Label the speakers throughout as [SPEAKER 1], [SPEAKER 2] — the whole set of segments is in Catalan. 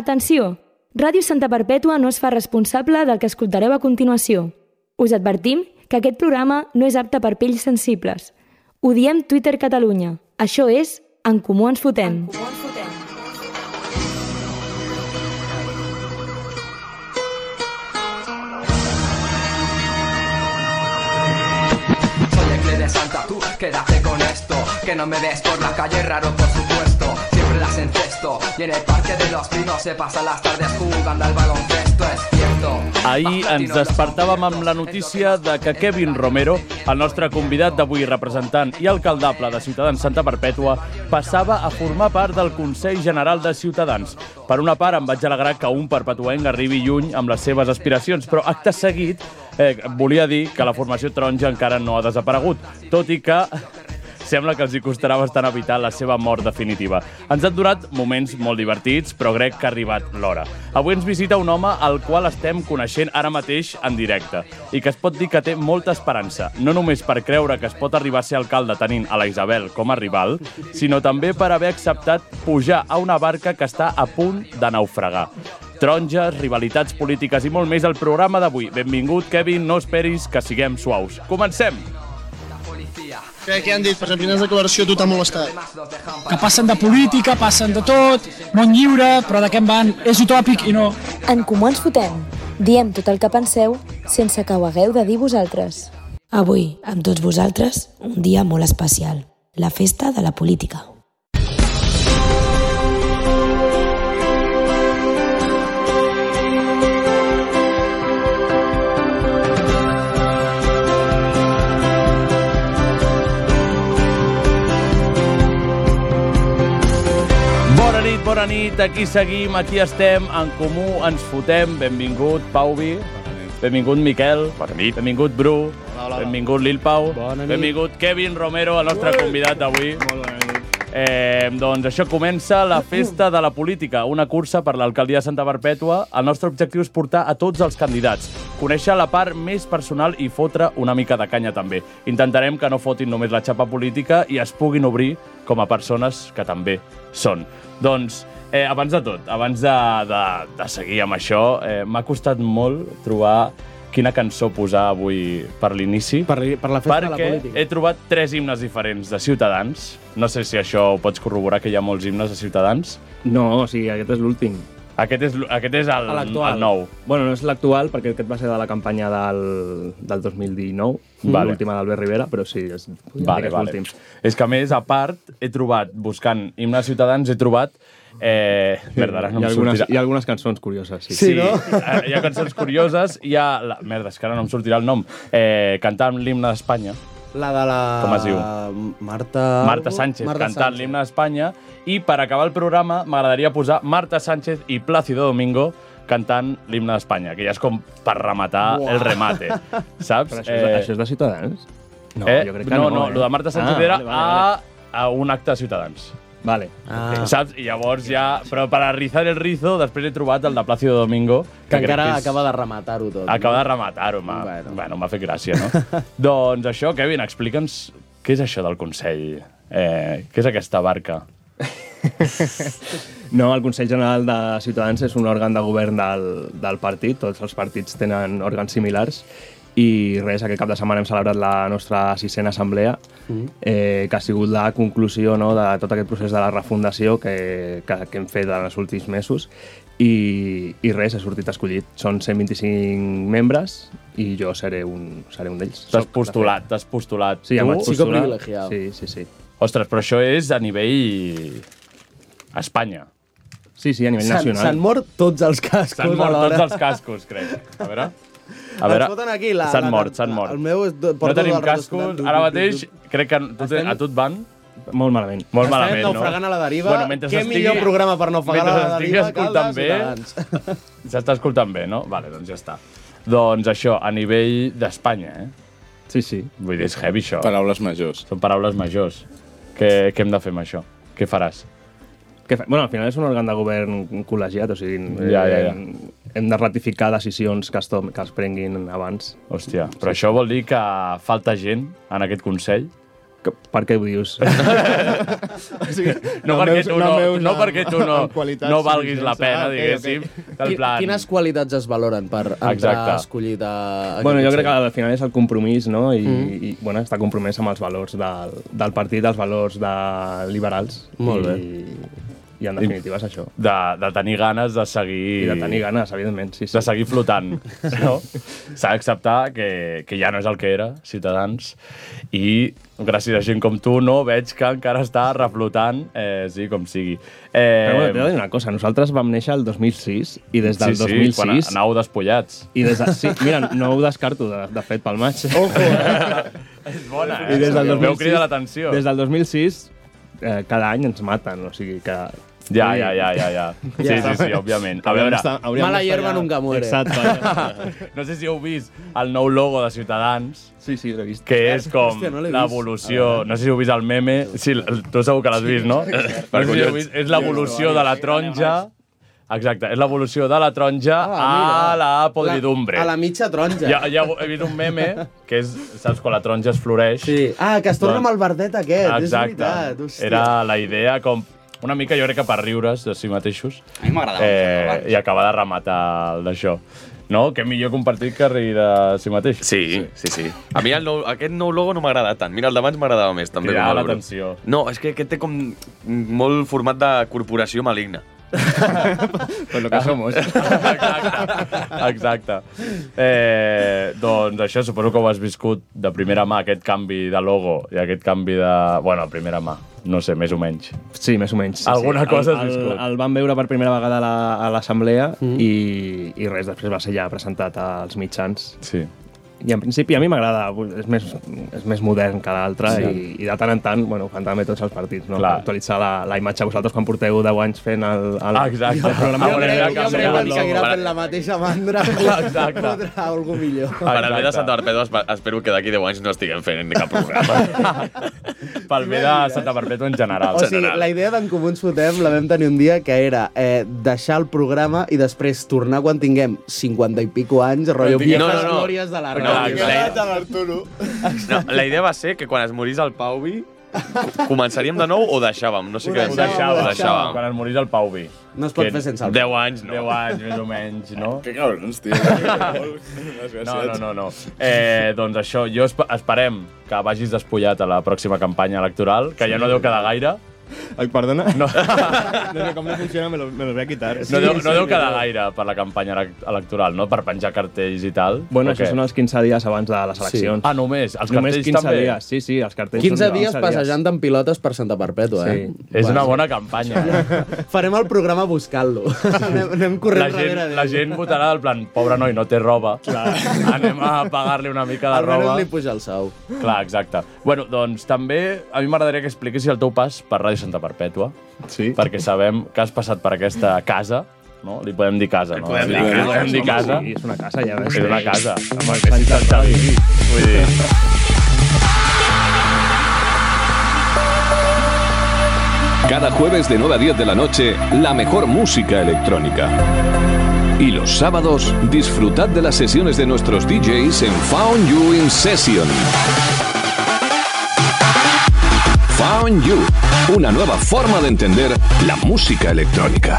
[SPEAKER 1] Atenció! Ràdio Santa Perpètua no es fa responsable del que escoltareu a continuació. Us advertim que aquest programa no és apte per pells sensibles. Ho diem Twitter Catalunya. Això és En Comú Ens Fotem.
[SPEAKER 2] Soy el Cle de Santa, tú quédate con esto Que no me ves por la calle, raro por supuesto Siempre las encesto Y en el parque de los pinos se pasan las tardes jugando al baloncesto Es cierto
[SPEAKER 3] Ahir ens despertàvem amb la notícia de que Kevin Romero, el nostre convidat d'avui representant i alcaldable de Ciutadans Santa Perpètua, passava a formar part del Consell General de Ciutadans. Per una part, em vaig alegrar que un perpetuenc arribi lluny amb les seves aspiracions, però acte seguit eh, volia dir que la formació taronja encara no ha desaparegut, tot i que Sembla que els hi costarà bastant evitar la seva mort definitiva. Ens han durat moments molt divertits, però crec que ha arribat l'hora. Avui ens visita un home al qual estem coneixent ara mateix en directe i que es pot dir que té molta esperança, no només per creure que es pot arribar a ser alcalde tenint a la Isabel com a rival, sinó també per haver acceptat pujar a una barca que està a punt de naufragar. Taronges, rivalitats polítiques i molt més al programa d'avui. Benvingut, Kevin, no esperis que siguem suaus. Comencem!
[SPEAKER 4] Què, què han dit? Per exemple, quina declaració a tu t'ha molestat?
[SPEAKER 5] que passen de política, passen de tot, món lliure, però de què en van? És utòpic i no.
[SPEAKER 6] En Comú Ens Fotem. Diem tot el que penseu sense que ho hagueu de dir vosaltres.
[SPEAKER 7] Avui, amb tots vosaltres, un dia molt especial. La festa de la política.
[SPEAKER 3] Bona nit, bona nit, aquí seguim, aquí estem, en comú ens fotem. Benvingut, Pauvi. Benvingut, Miquel. Bona nit. Benvingut, Bru. Hola, hola. Benvingut, Lil Pau. Bona nit. Benvingut, Kevin Romero, el nostre convidat d'avui. Molt bona nit. Eh, doncs això comença la Festa de la Política, una cursa per l'alcaldia de Santa Perpètua. El nostre objectiu és portar a tots els candidats, conèixer la part més personal i fotre una mica de canya també. Intentarem que no fotin només la xapa política i es puguin obrir com a persones que també són. Doncs, eh, abans de tot, abans de, de, de seguir amb això, eh, m'ha costat molt trobar quina cançó posar avui per l'inici.
[SPEAKER 8] Per, per la festa de la
[SPEAKER 3] Perquè
[SPEAKER 8] política.
[SPEAKER 3] he trobat tres himnes diferents de Ciutadans. No sé si això ho pots corroborar, que hi ha molts himnes de Ciutadans.
[SPEAKER 9] No, o sigui, aquest és l'últim.
[SPEAKER 3] Aquest és, l- aquest és el,
[SPEAKER 8] L'actual.
[SPEAKER 3] el nou.
[SPEAKER 9] Bueno, no és l'actual, perquè aquest va ser de la campanya del, del 2019,
[SPEAKER 3] Vale.
[SPEAKER 9] Mm. vale. l'última d'Albert Rivera, però sí, és, podríem
[SPEAKER 3] Vale,
[SPEAKER 9] dir que és
[SPEAKER 3] vale. És que, a més, a part, he trobat, buscant himne de Ciutadans, he trobat... Eh, merda, ara no
[SPEAKER 9] hi,
[SPEAKER 3] em
[SPEAKER 9] ha algunes,
[SPEAKER 3] sortirà.
[SPEAKER 9] hi ha algunes cançons curioses, sí.
[SPEAKER 3] Sí, eh, hi ha cançons curioses, hi ha... La... Merda, és que ara no em sortirà el nom. Eh, cantant l'himne d'Espanya.
[SPEAKER 8] La de la...
[SPEAKER 3] Com es diu?
[SPEAKER 8] Marta...
[SPEAKER 3] Marta Sánchez Marta cantant l'himne d'Espanya i per acabar el programa m'agradaria posar Marta Sánchez i Plácido Domingo cantant l'himne d'Espanya, que ja és com per rematar Uah. el remate, saps?
[SPEAKER 9] Però això, és, això és de Ciutadans?
[SPEAKER 3] no, eh, no, no, eh? lo de Marta Sánchez
[SPEAKER 9] ah,
[SPEAKER 3] era
[SPEAKER 9] vale, vale,
[SPEAKER 3] a, a un acte de Ciutadans.
[SPEAKER 9] vale. Vale.
[SPEAKER 3] Ah. Saps? I llavors ja... Però per rizar el rizo, després he trobat el de Plácido Domingo.
[SPEAKER 8] Que
[SPEAKER 3] crec
[SPEAKER 8] encara
[SPEAKER 3] és-
[SPEAKER 8] acaba de rematar-ho tot.
[SPEAKER 3] Acaba de rematar-ho, m'ha bueno.
[SPEAKER 8] Bueno.
[SPEAKER 3] bueno, m'ha fet gràcia, no? doncs això, Kevin, explica'ns què és això del Consell? Eh, què és aquesta barca?
[SPEAKER 9] No, el Consell General de Ciutadans és un òrgan de govern del, del partit, tots els partits tenen òrgans similars, i res, aquest cap de setmana hem celebrat la nostra sisena assemblea, eh, que ha sigut la conclusió no, de tot aquest procés de la refundació que, que, que hem fet en els últims mesos, i, i res, ha sortit escollit. Són 125 membres i jo seré un, seré un d'ells.
[SPEAKER 3] T'has
[SPEAKER 9] Soc, de
[SPEAKER 3] postulat, t'has postulat.
[SPEAKER 9] fet. Sí, ja em vaig
[SPEAKER 8] Chico
[SPEAKER 9] postular.
[SPEAKER 8] privilegiado.
[SPEAKER 9] Sí, sí, sí.
[SPEAKER 3] Ostres, però això és a nivell... Espanya.
[SPEAKER 9] Sí, sí, a nivell
[SPEAKER 8] S'han
[SPEAKER 9] nacional.
[SPEAKER 8] s'han mort tots els cascos
[SPEAKER 3] S'han mort
[SPEAKER 8] alhora.
[SPEAKER 3] tots els cascos, crec. A veure... A veure,
[SPEAKER 8] Ens foten aquí la-
[SPEAKER 3] s'han
[SPEAKER 8] la-
[SPEAKER 3] mort, s'han
[SPEAKER 8] la-
[SPEAKER 3] mort.
[SPEAKER 8] el meu és- porto
[SPEAKER 3] no tenim
[SPEAKER 8] tot el rato
[SPEAKER 3] cascos,
[SPEAKER 8] escoltant-
[SPEAKER 3] ara mateix crec que a tu,
[SPEAKER 8] Estem-
[SPEAKER 3] a tu et van
[SPEAKER 9] Molt malament.
[SPEAKER 3] molt
[SPEAKER 8] Estem
[SPEAKER 3] malament, no?
[SPEAKER 8] naufragant a la deriva.
[SPEAKER 3] Bueno, mentre
[SPEAKER 8] Què
[SPEAKER 3] estigui-
[SPEAKER 8] millor programa per naufragar a
[SPEAKER 3] mentre
[SPEAKER 8] la
[SPEAKER 3] estigui
[SPEAKER 8] deriva que el de
[SPEAKER 3] escoltant bé,
[SPEAKER 8] Ciutadans.
[SPEAKER 3] S'està escoltant bé, no? Vale, doncs ja està. Doncs això, a nivell d'Espanya, eh?
[SPEAKER 9] Sí, sí.
[SPEAKER 3] Vull dir, és heavy, això.
[SPEAKER 10] Paraules majors.
[SPEAKER 3] Són paraules majors. Què, què hem de fer amb això? Què faràs?
[SPEAKER 9] Que, fa- bueno, al final és un òrgan de govern col·legiat, o sigui,
[SPEAKER 3] Ja, ja, ja.
[SPEAKER 9] hem- hem de ratificar decisions que es, tom, que es prenguin abans.
[SPEAKER 3] Hòstia, però això vol dir que falta gent en aquest Consell?
[SPEAKER 9] Que- Per què ho dius? no, perquè tu no, no, perquè tu no, no valguis la
[SPEAKER 8] Ah,
[SPEAKER 9] pena, diguéssim. Del plan...
[SPEAKER 8] Quines qualitats es valoren per entrar
[SPEAKER 9] Exacte.
[SPEAKER 8] escollit a... a
[SPEAKER 9] Bueno, jo
[SPEAKER 8] aquest
[SPEAKER 9] crec que
[SPEAKER 8] Consell?
[SPEAKER 9] al final és el compromís, no? I, mm. i bueno, està compromès amb els valors del, del partit, els valors de liberals.
[SPEAKER 8] Molt bé.
[SPEAKER 9] I, i en definitiva és això.
[SPEAKER 3] De, de tenir ganes de
[SPEAKER 9] I
[SPEAKER 3] seguir...
[SPEAKER 9] de tenir ganes, evidentment, sí, sí.
[SPEAKER 3] de seguir flotant. No? S'ha d'acceptar que, que ja no és el que era, Ciutadans, i gràcies a gent com tu no veig que encara està reflotant, eh, sí, com sigui.
[SPEAKER 9] Però, bueno, t'he de
[SPEAKER 3] Eh,
[SPEAKER 9] dir una cosa, nosaltres vam néixer el 2006 i des del
[SPEAKER 3] sí, sí,
[SPEAKER 9] 2006...
[SPEAKER 3] quan anàveu despullats.
[SPEAKER 9] i des de, sí, mira, no ho descarto, de, de fet, pel maig. Ojo,
[SPEAKER 3] És bona, eh?
[SPEAKER 9] I des del 2006,
[SPEAKER 3] Veu crida l'atenció.
[SPEAKER 9] Des del 2006, eh, cada any ens maten, o sigui que...
[SPEAKER 3] Ja, ja, ja, ja, ja. Sí, sí, sí, òbviament. A veure,
[SPEAKER 8] Mala hierba nunca muere.
[SPEAKER 9] Exacte.
[SPEAKER 3] no sé si heu vist el nou logo de Ciutadans,
[SPEAKER 9] sí, sí, l'he vist.
[SPEAKER 3] que és com
[SPEAKER 8] Hòstia, no l'he vist.
[SPEAKER 3] l'evolució... No sé si heu vist el meme. Sí, el- tu segur que l'has vist, no? no sé si heu vist. És l'evolució de la taronja... Exacte, és l'evolució de la taronja a la podridumbre.
[SPEAKER 8] Ah, La, a la mitja taronja.
[SPEAKER 3] Ja, ja he vist un meme que és, saps, quan la taronja es floreix.
[SPEAKER 8] Sí. Ah, que es torna amb el verdet aquest, és
[SPEAKER 3] Exacte.
[SPEAKER 8] veritat. Hòstia.
[SPEAKER 3] Era la idea com una mica, jo crec que per riure's de si mateixos.
[SPEAKER 10] A mi m'agradava
[SPEAKER 3] Eh, I acabar de rematar el d'això. No? Que millor compartir que rir de si mateix.
[SPEAKER 10] Sí, sí, sí. A mi el nou, aquest nou logo no m'agrada tant. Mira, el d'abans m'agradava més, també.
[SPEAKER 3] Cridava
[SPEAKER 10] com a logo.
[SPEAKER 3] l'atenció.
[SPEAKER 10] No, és que aquest té com molt format de corporació maligna.
[SPEAKER 9] Pues lo que somos.
[SPEAKER 3] Exacte. Exacte. Eh, doncs això, suposo que ho has viscut de primera mà, aquest canvi de logo i aquest canvi de... Bueno, a primera mà, no sé, més o menys.
[SPEAKER 9] Sí, més o menys. Sí,
[SPEAKER 3] Alguna
[SPEAKER 9] sí.
[SPEAKER 3] cosa has
[SPEAKER 9] el, el,
[SPEAKER 3] viscut.
[SPEAKER 9] el vam veure per primera vegada a la- a l'assemblea mm. i, i res, després va ser ja presentat als mitjans.
[SPEAKER 3] Sí.
[SPEAKER 9] I en principi a mi m'agrada, és més, és més modern que l'altre sí. i, i de tant en tant, bueno, ho fan també tots els partits, no?
[SPEAKER 3] Clar.
[SPEAKER 9] actualitzar la, la imatge. Vosaltres quan porteu 10 anys fent el, el,
[SPEAKER 3] Ah, exacte.
[SPEAKER 9] el programa
[SPEAKER 3] Jo
[SPEAKER 9] veureu
[SPEAKER 3] crec-
[SPEAKER 9] que
[SPEAKER 3] jo
[SPEAKER 9] canvia
[SPEAKER 3] crec que
[SPEAKER 9] el
[SPEAKER 3] ens
[SPEAKER 9] logo.
[SPEAKER 8] seguirà
[SPEAKER 10] Para-
[SPEAKER 8] fent la mateixa mandra.
[SPEAKER 3] Exacte.
[SPEAKER 8] Fotrà algú millor.
[SPEAKER 10] Per al bé de Santa Perpètua espe- espero que d'aquí 10 anys no estiguem fent cap programa.
[SPEAKER 3] Pel bé de Santa Perpètua en general.
[SPEAKER 8] O sigui, la idea d'en Comuns Fotem la vam tenir un dia que era eh, deixar el programa i després tornar quan tinguem 50 i pico anys, rotllo
[SPEAKER 10] tinguem-
[SPEAKER 8] viejas
[SPEAKER 10] No, no,
[SPEAKER 8] no,
[SPEAKER 10] no.
[SPEAKER 8] glòries de la
[SPEAKER 10] No,
[SPEAKER 8] ràdio.
[SPEAKER 10] la idea-
[SPEAKER 8] l'Arturo.
[SPEAKER 10] no, la idea va ser que quan es morís el Pauvi començaríem de nou o deixàvem, no sé
[SPEAKER 8] Ho
[SPEAKER 10] què.
[SPEAKER 3] Ho
[SPEAKER 10] vam fer.
[SPEAKER 3] deixava,
[SPEAKER 8] deixàvem,
[SPEAKER 3] ho
[SPEAKER 8] ho
[SPEAKER 3] deixava.
[SPEAKER 8] deixàvem.
[SPEAKER 3] Quan es morís el Pau Vi.
[SPEAKER 8] No es pot
[SPEAKER 3] Que
[SPEAKER 8] fer sense el...
[SPEAKER 10] 10 anys, no.
[SPEAKER 3] 10 anys, més o menys, no?
[SPEAKER 4] Que cabrons, tio.
[SPEAKER 3] No, no, no. no. Eh, doncs això, jo esp esperem que vagis despullat a la pròxima campanya electoral, que ja no deu quedar gaire.
[SPEAKER 9] Ai, perdona?
[SPEAKER 3] No,
[SPEAKER 9] No sé com no funciona, me lo, me lo voy a quitar.
[SPEAKER 3] no, deu, no deu quedar gaire per la campanya elec- electoral, no? Per penjar cartells i tal.
[SPEAKER 9] Bueno,
[SPEAKER 3] o
[SPEAKER 9] això
[SPEAKER 3] què?
[SPEAKER 9] són els 15 dies abans de les eleccions.
[SPEAKER 3] Ah, només? Els
[SPEAKER 9] Només
[SPEAKER 3] cartells
[SPEAKER 9] 15
[SPEAKER 3] també?
[SPEAKER 9] dies, sí, sí, els cartells
[SPEAKER 8] 15
[SPEAKER 9] són
[SPEAKER 8] dies passejant en pilotes per Santa Perpètua,
[SPEAKER 9] Sí.
[SPEAKER 8] eh?
[SPEAKER 3] És una bona campanya.
[SPEAKER 8] Farem el programa buscant-lo. anem, anem corrent
[SPEAKER 3] La gent,
[SPEAKER 8] darrere d'ell.
[SPEAKER 3] la gent votarà del plan, pobre noi, no té roba. Anem a pagar-li una mica de roba.
[SPEAKER 8] Almenys li puja el sou.
[SPEAKER 3] Clar, exacte. Bueno, doncs també a mi m'agradaria que expliquessis el teu pas per Ràdio Santa Perpètua,
[SPEAKER 4] Sí.
[SPEAKER 3] perquè sabem que has passat per aquesta casa, no? Li podem dir casa, no?
[SPEAKER 10] podem
[SPEAKER 3] Li
[SPEAKER 10] dir casa,
[SPEAKER 3] podem dir casa.
[SPEAKER 9] Sí, és una casa, ja veus.
[SPEAKER 3] És una casa.
[SPEAKER 9] Amb els anys del
[SPEAKER 3] Xavi,
[SPEAKER 9] Xavi.
[SPEAKER 3] Vull dir...
[SPEAKER 11] Cada jueves de 9 a 10 de la noche, la mejor música electrónica. Y los sábados, disfrutad de las sesiones de nuestros DJs en Found You in Session. Found You, una nueva forma de entender la música electrónica.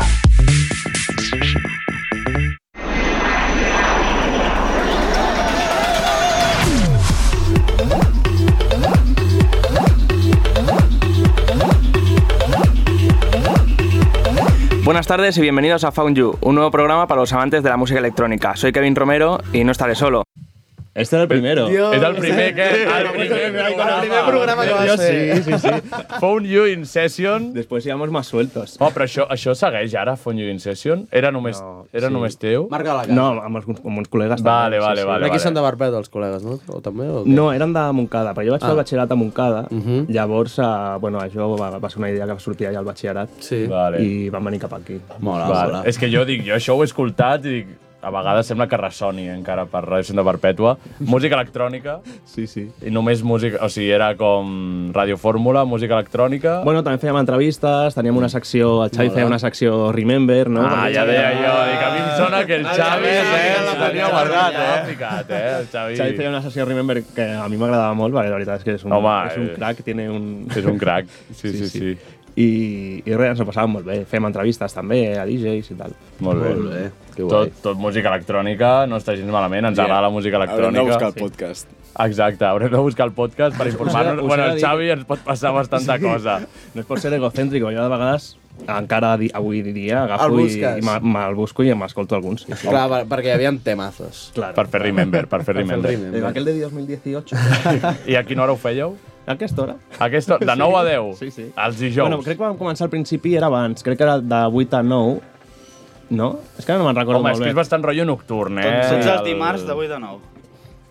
[SPEAKER 5] Buenas tardes y bienvenidos a Found You, un nuevo programa para los amantes de la música electrónica. Soy Kevin Romero y no estaré solo.
[SPEAKER 9] Este era el primero.
[SPEAKER 3] És el primer que... El primer
[SPEAKER 8] programa que vas fer.
[SPEAKER 9] Sí, sí, sí.
[SPEAKER 3] Phone You in Session...
[SPEAKER 9] Després íbamos más sueltos.
[SPEAKER 3] Oh, però això, això segueix ara, Phone You in Session? Era només,
[SPEAKER 9] No,
[SPEAKER 3] era
[SPEAKER 9] sí.
[SPEAKER 3] només teu?
[SPEAKER 8] Marca la cara.
[SPEAKER 9] No, amb, els, amb uns col·legues.
[SPEAKER 3] Vale, vale,
[SPEAKER 9] sí, sí.
[SPEAKER 3] vale.
[SPEAKER 8] Aquí s'han de barpet els col·legues, no? O també? O què?
[SPEAKER 9] No, eren de Montcada, però jo vaig fer
[SPEAKER 8] Ah.
[SPEAKER 9] el batxillerat a Montcada,
[SPEAKER 8] Mhm.
[SPEAKER 9] llavors, eh, bueno, això va, va ser una idea que va sortir allà al batxillerat
[SPEAKER 8] Sí.
[SPEAKER 3] Vale.
[SPEAKER 9] i vam venir cap aquí.
[SPEAKER 8] Mola,
[SPEAKER 3] Vale.
[SPEAKER 8] mola.
[SPEAKER 3] És que jo dic, jo això ho he escoltat i dic, a vegades sembla que ressoni encara per Ràdio Santa Perpètua. Música electrònica.
[SPEAKER 9] Sí, sí.
[SPEAKER 3] I només música... O sigui, era com Ràdio Fórmula, música electrònica...
[SPEAKER 9] Bueno, també fèiem entrevistes, teníem una secció... El Xavi
[SPEAKER 3] Mola.
[SPEAKER 9] feia una secció Remember, no?
[SPEAKER 3] Ah,
[SPEAKER 9] Perquè
[SPEAKER 3] ja
[SPEAKER 9] Xavi-
[SPEAKER 3] deia jo, dic, a mi em sona que el
[SPEAKER 9] Ah,
[SPEAKER 3] Xavi,
[SPEAKER 9] ja, ja,
[SPEAKER 3] eh,
[SPEAKER 9] ja,
[SPEAKER 3] la
[SPEAKER 9] ja,
[SPEAKER 3] tenia
[SPEAKER 9] ja,
[SPEAKER 3] guardat,
[SPEAKER 9] ja.
[SPEAKER 3] eh, ficat, eh, el Xavi.
[SPEAKER 9] Xavi feia una sessió Remember que a mi m'agradava molt, perquè la veritat és que és un,
[SPEAKER 3] Home,
[SPEAKER 9] és un
[SPEAKER 3] eh,
[SPEAKER 9] crack, tiene un...
[SPEAKER 3] és un crack, sí, sí, sí.
[SPEAKER 9] I, I res, ens ho passàvem molt bé. Fèiem entrevistes també eh, a DJs i tal.
[SPEAKER 3] Molt bé.
[SPEAKER 9] Que guai.
[SPEAKER 3] Tot, tot música electrònica, no està gens malament, ens
[SPEAKER 9] Yeah.
[SPEAKER 3] agrada la música
[SPEAKER 9] Haurem
[SPEAKER 3] electrònica.
[SPEAKER 9] de buscar el
[SPEAKER 3] podcast. Exacte, haurem de buscar el podcast per
[SPEAKER 9] us
[SPEAKER 3] informar-nos.
[SPEAKER 9] he
[SPEAKER 3] Bueno,
[SPEAKER 9] de
[SPEAKER 3] el
[SPEAKER 9] dir-
[SPEAKER 3] Xavi ens pot passar bastanta
[SPEAKER 9] Sí.
[SPEAKER 3] cosa.
[SPEAKER 9] No és per ser egocèntric, jo de vegades encara di avui dia
[SPEAKER 8] El
[SPEAKER 9] agafo i,
[SPEAKER 8] busques.
[SPEAKER 9] i me- me'l busco i m'escolto alguns. Sí, sí.
[SPEAKER 8] Clar, per, perquè hi havia temazos.
[SPEAKER 9] Claro.
[SPEAKER 3] Per fer remember, per fer remember.
[SPEAKER 9] Aquel de 2018.
[SPEAKER 3] I a quina hora ho fèieu?
[SPEAKER 9] A aquesta hora.
[SPEAKER 3] Aquesta, de 9 a 10,
[SPEAKER 9] Sí, sí.
[SPEAKER 3] els dijous.
[SPEAKER 9] Bueno, crec que vam començar al principi, era abans. Crec que era de 8 a 9. No? És que ara no me'n recordo
[SPEAKER 3] Home, és
[SPEAKER 9] molt
[SPEAKER 3] que
[SPEAKER 9] bé.
[SPEAKER 3] és bastant rotllo nocturn, eh?
[SPEAKER 9] Doncs tots els
[SPEAKER 12] Dimarts de 8 a 9.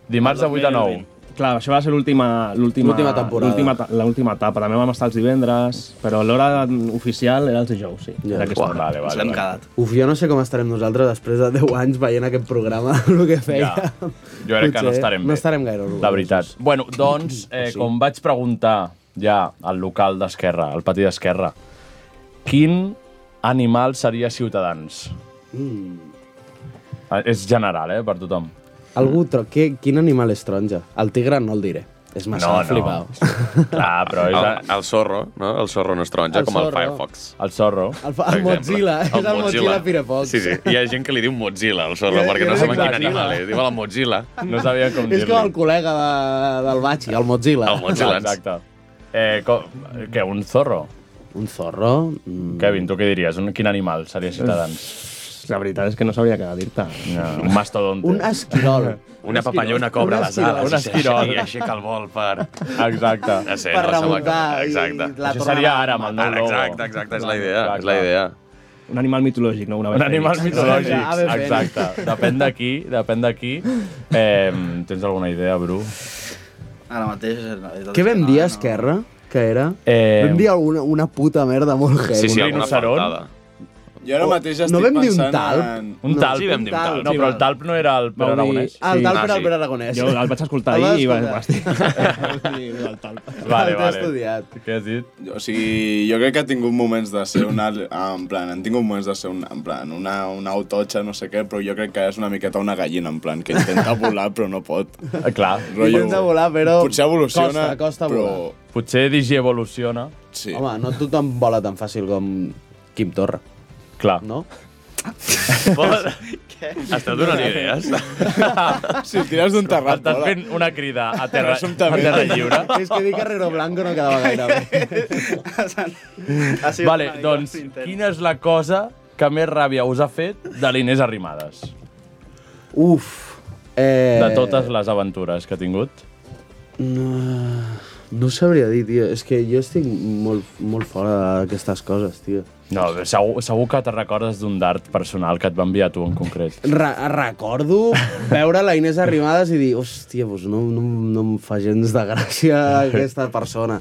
[SPEAKER 3] Dimarts de 8 a 9.
[SPEAKER 9] Clar, això va ser l'última... l'última-
[SPEAKER 3] L'última temporada.
[SPEAKER 9] L'última ta- l'última etapa. També vam estar els divendres, però l'hora oficial era els dijous, sí. Ja. Era aquesta hora.
[SPEAKER 3] Vale, vale, vale.
[SPEAKER 8] Uf, jo no sé com estarem nosaltres després de 10 anys veient aquest programa, el que feia.
[SPEAKER 3] Ja. Jo crec que no
[SPEAKER 8] Potser
[SPEAKER 3] estarem bé.
[SPEAKER 8] No estarem gaire orgullosos.
[SPEAKER 3] La veritat. Bueno, doncs, eh,
[SPEAKER 8] Sí.
[SPEAKER 3] com vaig preguntar ja al local d'Esquerra, al pati d'Esquerra, quin animal seria Ciutadans?
[SPEAKER 8] Mm.
[SPEAKER 3] Eh, És general, eh, per tothom.
[SPEAKER 8] Algú, tro... Què, quin animal és taronja? El tigre no el diré. És massa
[SPEAKER 3] No, no.
[SPEAKER 8] flipau.
[SPEAKER 3] Clar, però és...
[SPEAKER 10] El, el zorro, no? El zorro no és taronja,
[SPEAKER 8] El
[SPEAKER 10] com el
[SPEAKER 8] zorro.
[SPEAKER 10] Firefox.
[SPEAKER 3] El zorro.
[SPEAKER 8] El, fa- el Mozilla, és el Mozilla, Firefox.
[SPEAKER 10] Sí, sí. Hi ha gent que li diu Mozilla, el zorro,
[SPEAKER 8] Jo-
[SPEAKER 10] perquè
[SPEAKER 8] jo
[SPEAKER 10] no
[SPEAKER 8] dic
[SPEAKER 10] saben quin
[SPEAKER 8] Mozilla.
[SPEAKER 10] animal és. Diu la Mozilla.
[SPEAKER 3] No sabia com
[SPEAKER 8] És
[SPEAKER 3] dir-li.
[SPEAKER 8] com el col·lega de, del Batxi, el Mozilla.
[SPEAKER 3] El Mozilla. Exacte. Eh, com, què, un zorro?
[SPEAKER 8] Un zorro? Mm.
[SPEAKER 3] Kevin, tu què diries? Un, quin animal seria Ciutadans?
[SPEAKER 9] La veritat és que no sabria què dir-te.
[SPEAKER 3] No, un mastodonte.
[SPEAKER 8] Un esquirol.
[SPEAKER 10] Una papallona cobra les ales.
[SPEAKER 3] Un esquirol.
[SPEAKER 10] I aixeca el vol per...
[SPEAKER 3] Exacte.
[SPEAKER 10] No sé,
[SPEAKER 8] Per
[SPEAKER 10] no, sembla
[SPEAKER 8] remuntar
[SPEAKER 10] que-
[SPEAKER 8] i
[SPEAKER 10] Exacte.
[SPEAKER 8] la Això seria tornada.
[SPEAKER 3] ara, amb el nou
[SPEAKER 10] Ara,
[SPEAKER 3] logo.
[SPEAKER 10] Exacte, exacte, és la idea.
[SPEAKER 3] Clar,
[SPEAKER 10] És la
[SPEAKER 3] clar.
[SPEAKER 10] idea.
[SPEAKER 9] Un animal mitològic, no? Una
[SPEAKER 3] Un animal mitològic,
[SPEAKER 9] Ave Fénix.
[SPEAKER 3] exacte. Depèn d'aquí, depèn d'aquí. Eh, tens alguna idea, Bru?
[SPEAKER 12] Ara mateix... és el-
[SPEAKER 9] Doncs
[SPEAKER 8] Què vam dir a Esquerra? Que era?
[SPEAKER 3] Eh...
[SPEAKER 8] Vam dir alguna, una puta merda molt heavy.
[SPEAKER 3] sí, alguna Rinoceron? faltada.
[SPEAKER 13] Jo ara mateix estic
[SPEAKER 8] no vam dir un
[SPEAKER 13] pensant
[SPEAKER 8] talp?
[SPEAKER 13] en...
[SPEAKER 3] Un talp. No, però el talp no era el Pere
[SPEAKER 9] Vau dir-
[SPEAKER 3] Aragonès.
[SPEAKER 9] Ah, el talp Ah, era el sí. Pere
[SPEAKER 8] Aragonès.
[SPEAKER 9] Jo el vaig escoltar
[SPEAKER 8] El vas
[SPEAKER 9] ahir i va, va
[SPEAKER 8] escoltar.
[SPEAKER 9] estar...
[SPEAKER 3] Vale,
[SPEAKER 13] El té
[SPEAKER 3] vale.
[SPEAKER 8] estudiat.
[SPEAKER 3] Què has dit?
[SPEAKER 13] O sigui, jo crec que ha tingut moments de ser una... En plan, han tingut moments de ser un, en plan, una, una autotxa, no sé què, però jo crec que és una miqueta una gallina, en plan, que intenta volar però no pot.
[SPEAKER 3] Ah, Clar.
[SPEAKER 13] Rotllo- Intenta volar, però
[SPEAKER 8] Potser evoluciona, costa, costa però- volar.
[SPEAKER 3] Potser Digi evoluciona.
[SPEAKER 13] Sí.
[SPEAKER 8] Home, no tothom vola tan fàcil com Quim Torra.
[SPEAKER 3] Clar.
[SPEAKER 8] No?
[SPEAKER 10] Esteu donant idees?
[SPEAKER 13] Si tires d'un terrat,
[SPEAKER 3] Estàs fent una crida a terra, a terra lliure.
[SPEAKER 8] És que dir Carrero Blanco no quedava gaire bé.
[SPEAKER 3] Vale, doncs, quina és la cosa que més ràbia us ha fet de l'Inés Arrimadas?
[SPEAKER 8] Uf. Eh...
[SPEAKER 3] De
[SPEAKER 9] tota-
[SPEAKER 3] totes les aventures que ha tingut?
[SPEAKER 8] No, no sabria dir, tio. És que jo estic molt, molt fora d'aquestes coses, tio.
[SPEAKER 3] No, segur, segur que te recordes d'un dart personal que et va enviar tu en concret.
[SPEAKER 8] Re recordo veure la Inés Arrimadas i dir, hòstia, doncs no, no, no em fa gens de gràcia aquesta persona.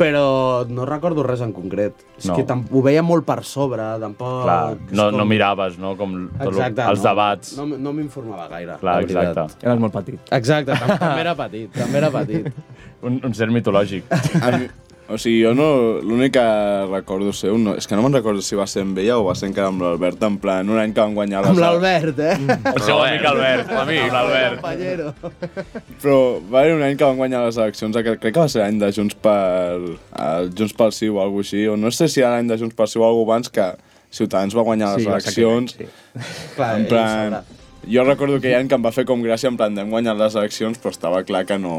[SPEAKER 8] Però no recordo res en concret. És
[SPEAKER 3] No.
[SPEAKER 8] que tam- ho veia molt per sobre, tampoc...
[SPEAKER 3] Clar,
[SPEAKER 8] és
[SPEAKER 3] no, no
[SPEAKER 8] com-
[SPEAKER 3] miraves, no? Com tot
[SPEAKER 8] Exacte,
[SPEAKER 3] el, els
[SPEAKER 8] no,
[SPEAKER 3] debats.
[SPEAKER 8] No, no m'informava gaire.
[SPEAKER 3] Clar,
[SPEAKER 8] la veritat.
[SPEAKER 3] exacte.
[SPEAKER 9] Eres molt petit.
[SPEAKER 8] Exacte, tam- també era petit, també era petit.
[SPEAKER 3] Un, un ser mitològic.
[SPEAKER 13] A mi, o sigui, jo no... L'únic que recordo seu... No, és que no me'n recordo si va ser amb ella o va ser encara amb l'Albert, en plan, un any que vam guanyar les...
[SPEAKER 8] Amb l'Albert, eh?
[SPEAKER 3] El seu amic Albert, l'amic, l'Albert.
[SPEAKER 8] Companyero.
[SPEAKER 13] Però va haver un any que van guanyar les eleccions, que crec que va ser l'any de Junts per... El Junts pel Sí o alguna així, o no sé si era l'any de Junts pel Sí o alguna abans que Ciutadans va guanyar les
[SPEAKER 9] Sí,
[SPEAKER 13] eleccions.
[SPEAKER 9] exactament,
[SPEAKER 8] Clar,
[SPEAKER 13] en
[SPEAKER 9] ell
[SPEAKER 13] plan, jo recordo que hi ha que em va fer com gràcia, en plan, hem guanyat les eleccions, però estava clar que no,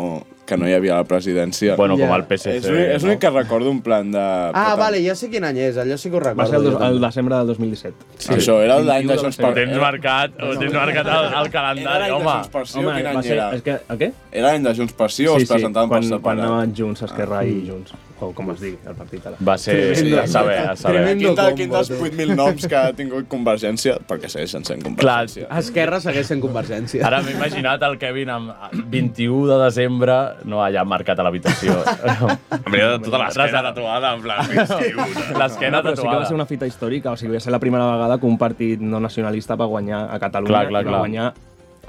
[SPEAKER 13] que no hi havia la presidència.
[SPEAKER 3] Bueno, com Ja. el PSC,
[SPEAKER 13] És l'únic és l'únic que recordo, en plan de...
[SPEAKER 8] Ah, vale, ja sé quin any és, allò sí que ho recordo.
[SPEAKER 9] Va ser el,
[SPEAKER 8] jo
[SPEAKER 9] dos,
[SPEAKER 8] també.
[SPEAKER 9] el desembre del 2017.
[SPEAKER 13] Sí. Això era el d'any de Junts per...
[SPEAKER 3] Ho tens marcat, ho tens marcat al, al calendari,
[SPEAKER 13] Era l'any de
[SPEAKER 3] home.
[SPEAKER 13] Junts per Sí, o quin any
[SPEAKER 9] va ser-
[SPEAKER 13] era?
[SPEAKER 9] És que, el què?
[SPEAKER 13] Era l'any de Junts per Sí o es presentaven
[SPEAKER 9] quan,
[SPEAKER 13] per separat?
[SPEAKER 9] Quan anaven junts, Esquerra
[SPEAKER 13] Ah.
[SPEAKER 9] i
[SPEAKER 13] Mm.
[SPEAKER 9] Junts. o com es digui, el partit. Ara.
[SPEAKER 10] Va ser- Tremendo. a saber, a saber. Tremendo
[SPEAKER 13] Quin, de,
[SPEAKER 10] combo,
[SPEAKER 13] quin
[SPEAKER 9] eh?
[SPEAKER 13] dels
[SPEAKER 10] tu.
[SPEAKER 13] 8.000 noms que ha tingut Convergència? Perquè segueixen sent Convergència.
[SPEAKER 8] Clar, Esquerra segueix sent Convergència.
[SPEAKER 3] Ara m'he imaginat el Kevin amb 21 de desembre, no allà marcat a l'habitació.
[SPEAKER 10] Hauria de tota l'esquena tatuada, en plan,
[SPEAKER 3] L'esquena
[SPEAKER 9] No, però sí que va
[SPEAKER 3] tatuada.
[SPEAKER 9] ser una fita històrica, o sigui, va ser la primera vegada que un partit no nacionalista va guanyar a Catalunya
[SPEAKER 3] Clar, clar,
[SPEAKER 9] i va
[SPEAKER 3] clar.
[SPEAKER 9] guanyar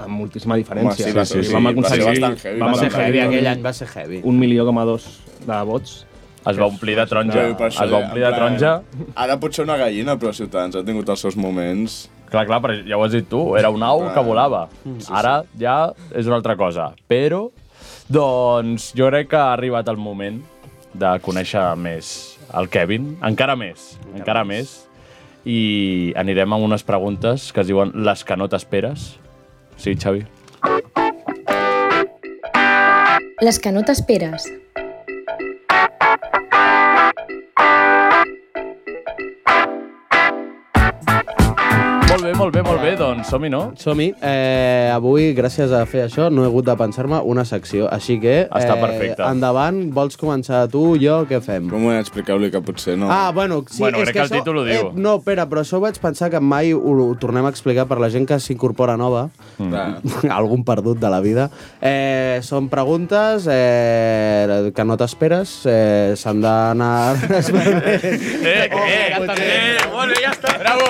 [SPEAKER 9] amb moltíssima diferència.
[SPEAKER 3] Home, sí, va ser- sí,
[SPEAKER 9] vam
[SPEAKER 3] va
[SPEAKER 9] aconseguir,
[SPEAKER 3] ser bastant heavy, va
[SPEAKER 9] vam
[SPEAKER 3] ser
[SPEAKER 9] aconseguir
[SPEAKER 3] heavy aquell any, va ser heavy.
[SPEAKER 9] Un milió com a dos de vots.
[SPEAKER 3] Es va omplir de taronja.
[SPEAKER 13] Sí, per
[SPEAKER 3] Es va
[SPEAKER 13] això deia,
[SPEAKER 3] omplir de
[SPEAKER 13] en plan,
[SPEAKER 3] taronja.
[SPEAKER 13] Ara potser una gallina, però Ciutadans ha tingut els seus moments.
[SPEAKER 3] Clar, clar, però ja ho has dit tu, era un au que volava. Ara ja és una altra cosa. Però, doncs, jo crec que ha arribat el moment de conèixer més el Kevin. Encara més, encara, més. I anirem amb unes preguntes que es diuen les que no t'esperes. Sí, Xavi?
[SPEAKER 6] Les que no t'esperes.
[SPEAKER 3] Molt bé, molt bé, molt bé. Doncs som-hi, no?
[SPEAKER 8] Som-hi. Eh, avui, gràcies a fer això, no he hagut de pensar-me una secció, així que... Eh,
[SPEAKER 13] Està perfecte.
[SPEAKER 8] Endavant, vols començar tu, jo, què fem?
[SPEAKER 13] Com ho expliqueu-li que potser no...
[SPEAKER 8] Ah, bueno, sí, és que, això, Eh, no, espera, però això ho vaig pensar que mai ho, ho tornem a explicar per la gent que s'incorpora nova,
[SPEAKER 13] Mm.
[SPEAKER 8] algun perdut de la vida. Eh, són preguntes eh, que no t'esperes, eh, s'han d'anar... Oh,
[SPEAKER 10] Eh, eh, eh, molt bé, ja està. Bravo.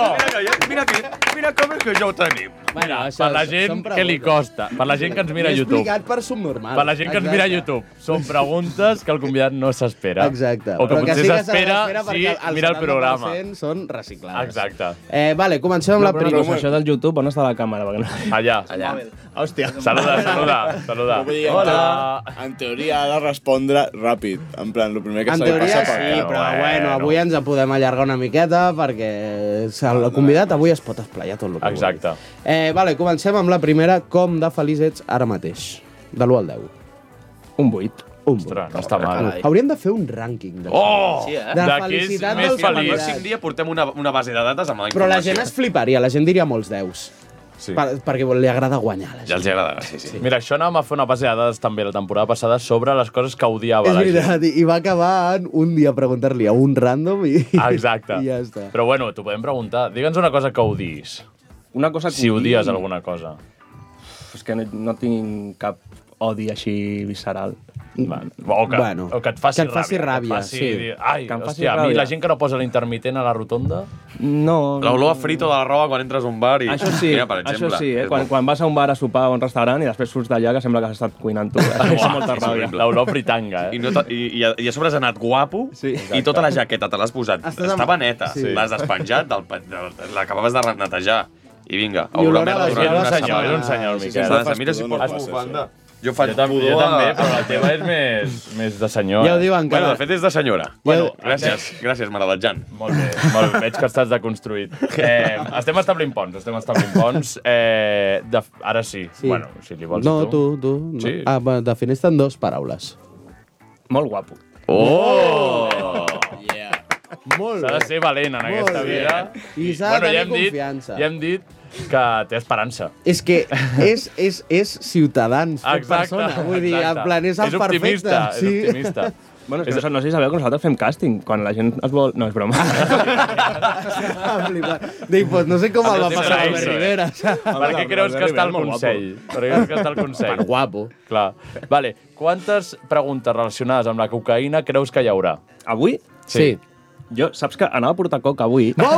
[SPEAKER 10] Mira, mira, mira com és que ja ho tenim.
[SPEAKER 3] Mira, per la gent que li costa, per la gent que ens mira a
[SPEAKER 8] M'he
[SPEAKER 3] YouTube.
[SPEAKER 8] explicat per subnormal.
[SPEAKER 3] Per la gent que ens mira a YouTube, són preguntes que el convidat no s'espera.
[SPEAKER 8] Exacte.
[SPEAKER 3] O que
[SPEAKER 8] Però que
[SPEAKER 3] potser
[SPEAKER 8] sí que se
[SPEAKER 3] s'espera
[SPEAKER 8] l'espera
[SPEAKER 3] si
[SPEAKER 8] perquè el
[SPEAKER 3] mira el programa.
[SPEAKER 8] 70% Són reciclades.
[SPEAKER 3] Exacte.
[SPEAKER 8] Eh, vale, comencem amb la
[SPEAKER 9] però,
[SPEAKER 8] primera.
[SPEAKER 9] però, això del YouTube, on està la càmera?
[SPEAKER 3] Allà.
[SPEAKER 9] Allà.
[SPEAKER 13] Hòstia.
[SPEAKER 9] Saluda, saluda,
[SPEAKER 3] saluda.
[SPEAKER 13] Hola. En teoria ha de respondre ràpid. En plan, el primer que
[SPEAKER 8] En
[SPEAKER 13] se li
[SPEAKER 8] teoria
[SPEAKER 13] passa
[SPEAKER 8] sí,
[SPEAKER 13] per cap.
[SPEAKER 8] però bueno, avui ens en podem allargar una miqueta perquè el convidat avui es pot esplayar tot el que
[SPEAKER 3] Exacte.
[SPEAKER 8] vulgui. Eh, vale, comencem amb la primera. Com de feliç ets ara mateix? De l'1 al 10.
[SPEAKER 9] Un 8.
[SPEAKER 8] Un 8.
[SPEAKER 3] no està mal.
[SPEAKER 8] Hauríem de fer un rànquing. de-
[SPEAKER 10] Oh!
[SPEAKER 8] Sí, eh? De la
[SPEAKER 10] qui és
[SPEAKER 8] felicitat
[SPEAKER 10] més
[SPEAKER 8] dels
[SPEAKER 10] feliç.
[SPEAKER 8] enamorats.
[SPEAKER 10] El pròxim dia portem una, una base de dates amb la
[SPEAKER 8] Però la
[SPEAKER 10] informació.
[SPEAKER 8] gent es fliparia, la gent diria molts 10s.
[SPEAKER 10] Sí.
[SPEAKER 8] Per, perquè li agrada guanyar. a la gent.
[SPEAKER 10] Ja els agradarà, sí, sí.
[SPEAKER 3] Mira, això anàvem a fer una base de dades també la temporada passada sobre les coses que odiava
[SPEAKER 8] És
[SPEAKER 3] la gent.
[SPEAKER 8] veritat, i i va acabar en un dia preguntar-li a un random i...
[SPEAKER 3] Exacte.
[SPEAKER 8] I ja està.
[SPEAKER 3] Però bueno, t'ho podem preguntar. Digue'ns una cosa que odiïs.
[SPEAKER 9] Una cosa que
[SPEAKER 3] Si
[SPEAKER 9] odiï?
[SPEAKER 3] odies alguna cosa.
[SPEAKER 9] És que no, no tinc cap odi així visceral.
[SPEAKER 3] O que, bueno, o que et faci,
[SPEAKER 9] que et faci
[SPEAKER 3] ràbia. que
[SPEAKER 9] ràbia,
[SPEAKER 3] et faci,
[SPEAKER 9] sí.
[SPEAKER 3] dir, Ai,
[SPEAKER 9] Que em faci
[SPEAKER 3] hòstia, a mi
[SPEAKER 9] ràbia.
[SPEAKER 3] la gent que no posa l'intermitent a la rotonda...
[SPEAKER 9] No.
[SPEAKER 10] L'olor a frito de la roba quan entres a un bar i...
[SPEAKER 9] Això sí,
[SPEAKER 10] Mira, per
[SPEAKER 9] això
[SPEAKER 10] exemple.
[SPEAKER 9] sí eh?
[SPEAKER 10] És
[SPEAKER 9] quan,
[SPEAKER 10] bo.
[SPEAKER 9] quan vas a un bar a sopar o a un restaurant i després surts d'allà que sembla que has estat cuinant tu. Això fa molta
[SPEAKER 10] és
[SPEAKER 9] ràbia.
[SPEAKER 10] horrible.
[SPEAKER 3] L'olor fritanga,
[SPEAKER 10] eh? I, no te- i, i, a, I a sobre has anat guapo sí. i tota la jaqueta te l'has posat.
[SPEAKER 8] Estàs amb-
[SPEAKER 10] Estava neta,
[SPEAKER 8] Sí.
[SPEAKER 10] sí. l'has despenjat, del pa- de- l'acabaves de renetejar. I vinga,
[SPEAKER 3] I olor a
[SPEAKER 10] merda
[SPEAKER 3] vagina.
[SPEAKER 10] durant
[SPEAKER 3] És un
[SPEAKER 10] una
[SPEAKER 3] senyor,
[SPEAKER 10] setmana.
[SPEAKER 3] és un senyor,
[SPEAKER 10] Sí, sí,
[SPEAKER 3] Miquel.
[SPEAKER 10] s'ha de- Mira si
[SPEAKER 3] Fas
[SPEAKER 10] pots
[SPEAKER 3] pudor, no
[SPEAKER 10] bufanda.
[SPEAKER 3] passa
[SPEAKER 10] Jo faig
[SPEAKER 3] jo, tam jo
[SPEAKER 10] pudor a-
[SPEAKER 3] també, però la teva és més, més de senyor.
[SPEAKER 10] Ja ho
[SPEAKER 3] eh?
[SPEAKER 10] diu encara. Bueno, de fet, és de senyora. Bueno, gràcies, gràcies, m'agrada Jan.
[SPEAKER 3] Molt bé, molt bé. Veig que estàs deconstruït. Eh, estem establint ponts, estem establint ponts. Eh, de, ara sí. sí. Bueno, si li vols
[SPEAKER 8] No,
[SPEAKER 3] tu.
[SPEAKER 8] tu, tu. No.
[SPEAKER 3] Sí.
[SPEAKER 8] Ah, va, defineix-te en dues paraules.
[SPEAKER 9] Molt guapo.
[SPEAKER 3] Oh!
[SPEAKER 8] Molt
[SPEAKER 3] S'ha de ser valent en
[SPEAKER 8] Molt
[SPEAKER 3] aquesta
[SPEAKER 8] bé.
[SPEAKER 3] vida.
[SPEAKER 8] I s'ha de tenir confiança.
[SPEAKER 3] Dit, ja hem dit que té esperança.
[SPEAKER 8] És que és, és, és ciutadans, fet
[SPEAKER 3] Exacte,
[SPEAKER 8] persona. Vull dir, en
[SPEAKER 3] exacte.
[SPEAKER 8] plan, és el
[SPEAKER 3] És
[SPEAKER 8] perfecte.
[SPEAKER 3] optimista, és
[SPEAKER 8] sí.
[SPEAKER 3] optimista.
[SPEAKER 9] Bueno, és que no, sé- no sé si sabeu que nosaltres fem càsting quan la gent es vol... No, és broma.
[SPEAKER 8] Dic, pues, no sé com el va
[SPEAKER 3] Sí,
[SPEAKER 8] passar a
[SPEAKER 3] sí, sí.
[SPEAKER 8] Rivera.
[SPEAKER 3] Per què creus que està el Consell? Per què creus que està el Consell?
[SPEAKER 8] Per guapo.
[SPEAKER 3] Clar. Vale. Quantes preguntes relacionades amb la cocaïna creus que hi haurà?
[SPEAKER 9] Avui?
[SPEAKER 8] Sí.
[SPEAKER 9] Jo, saps que anava a portar coca avui.
[SPEAKER 8] Oh!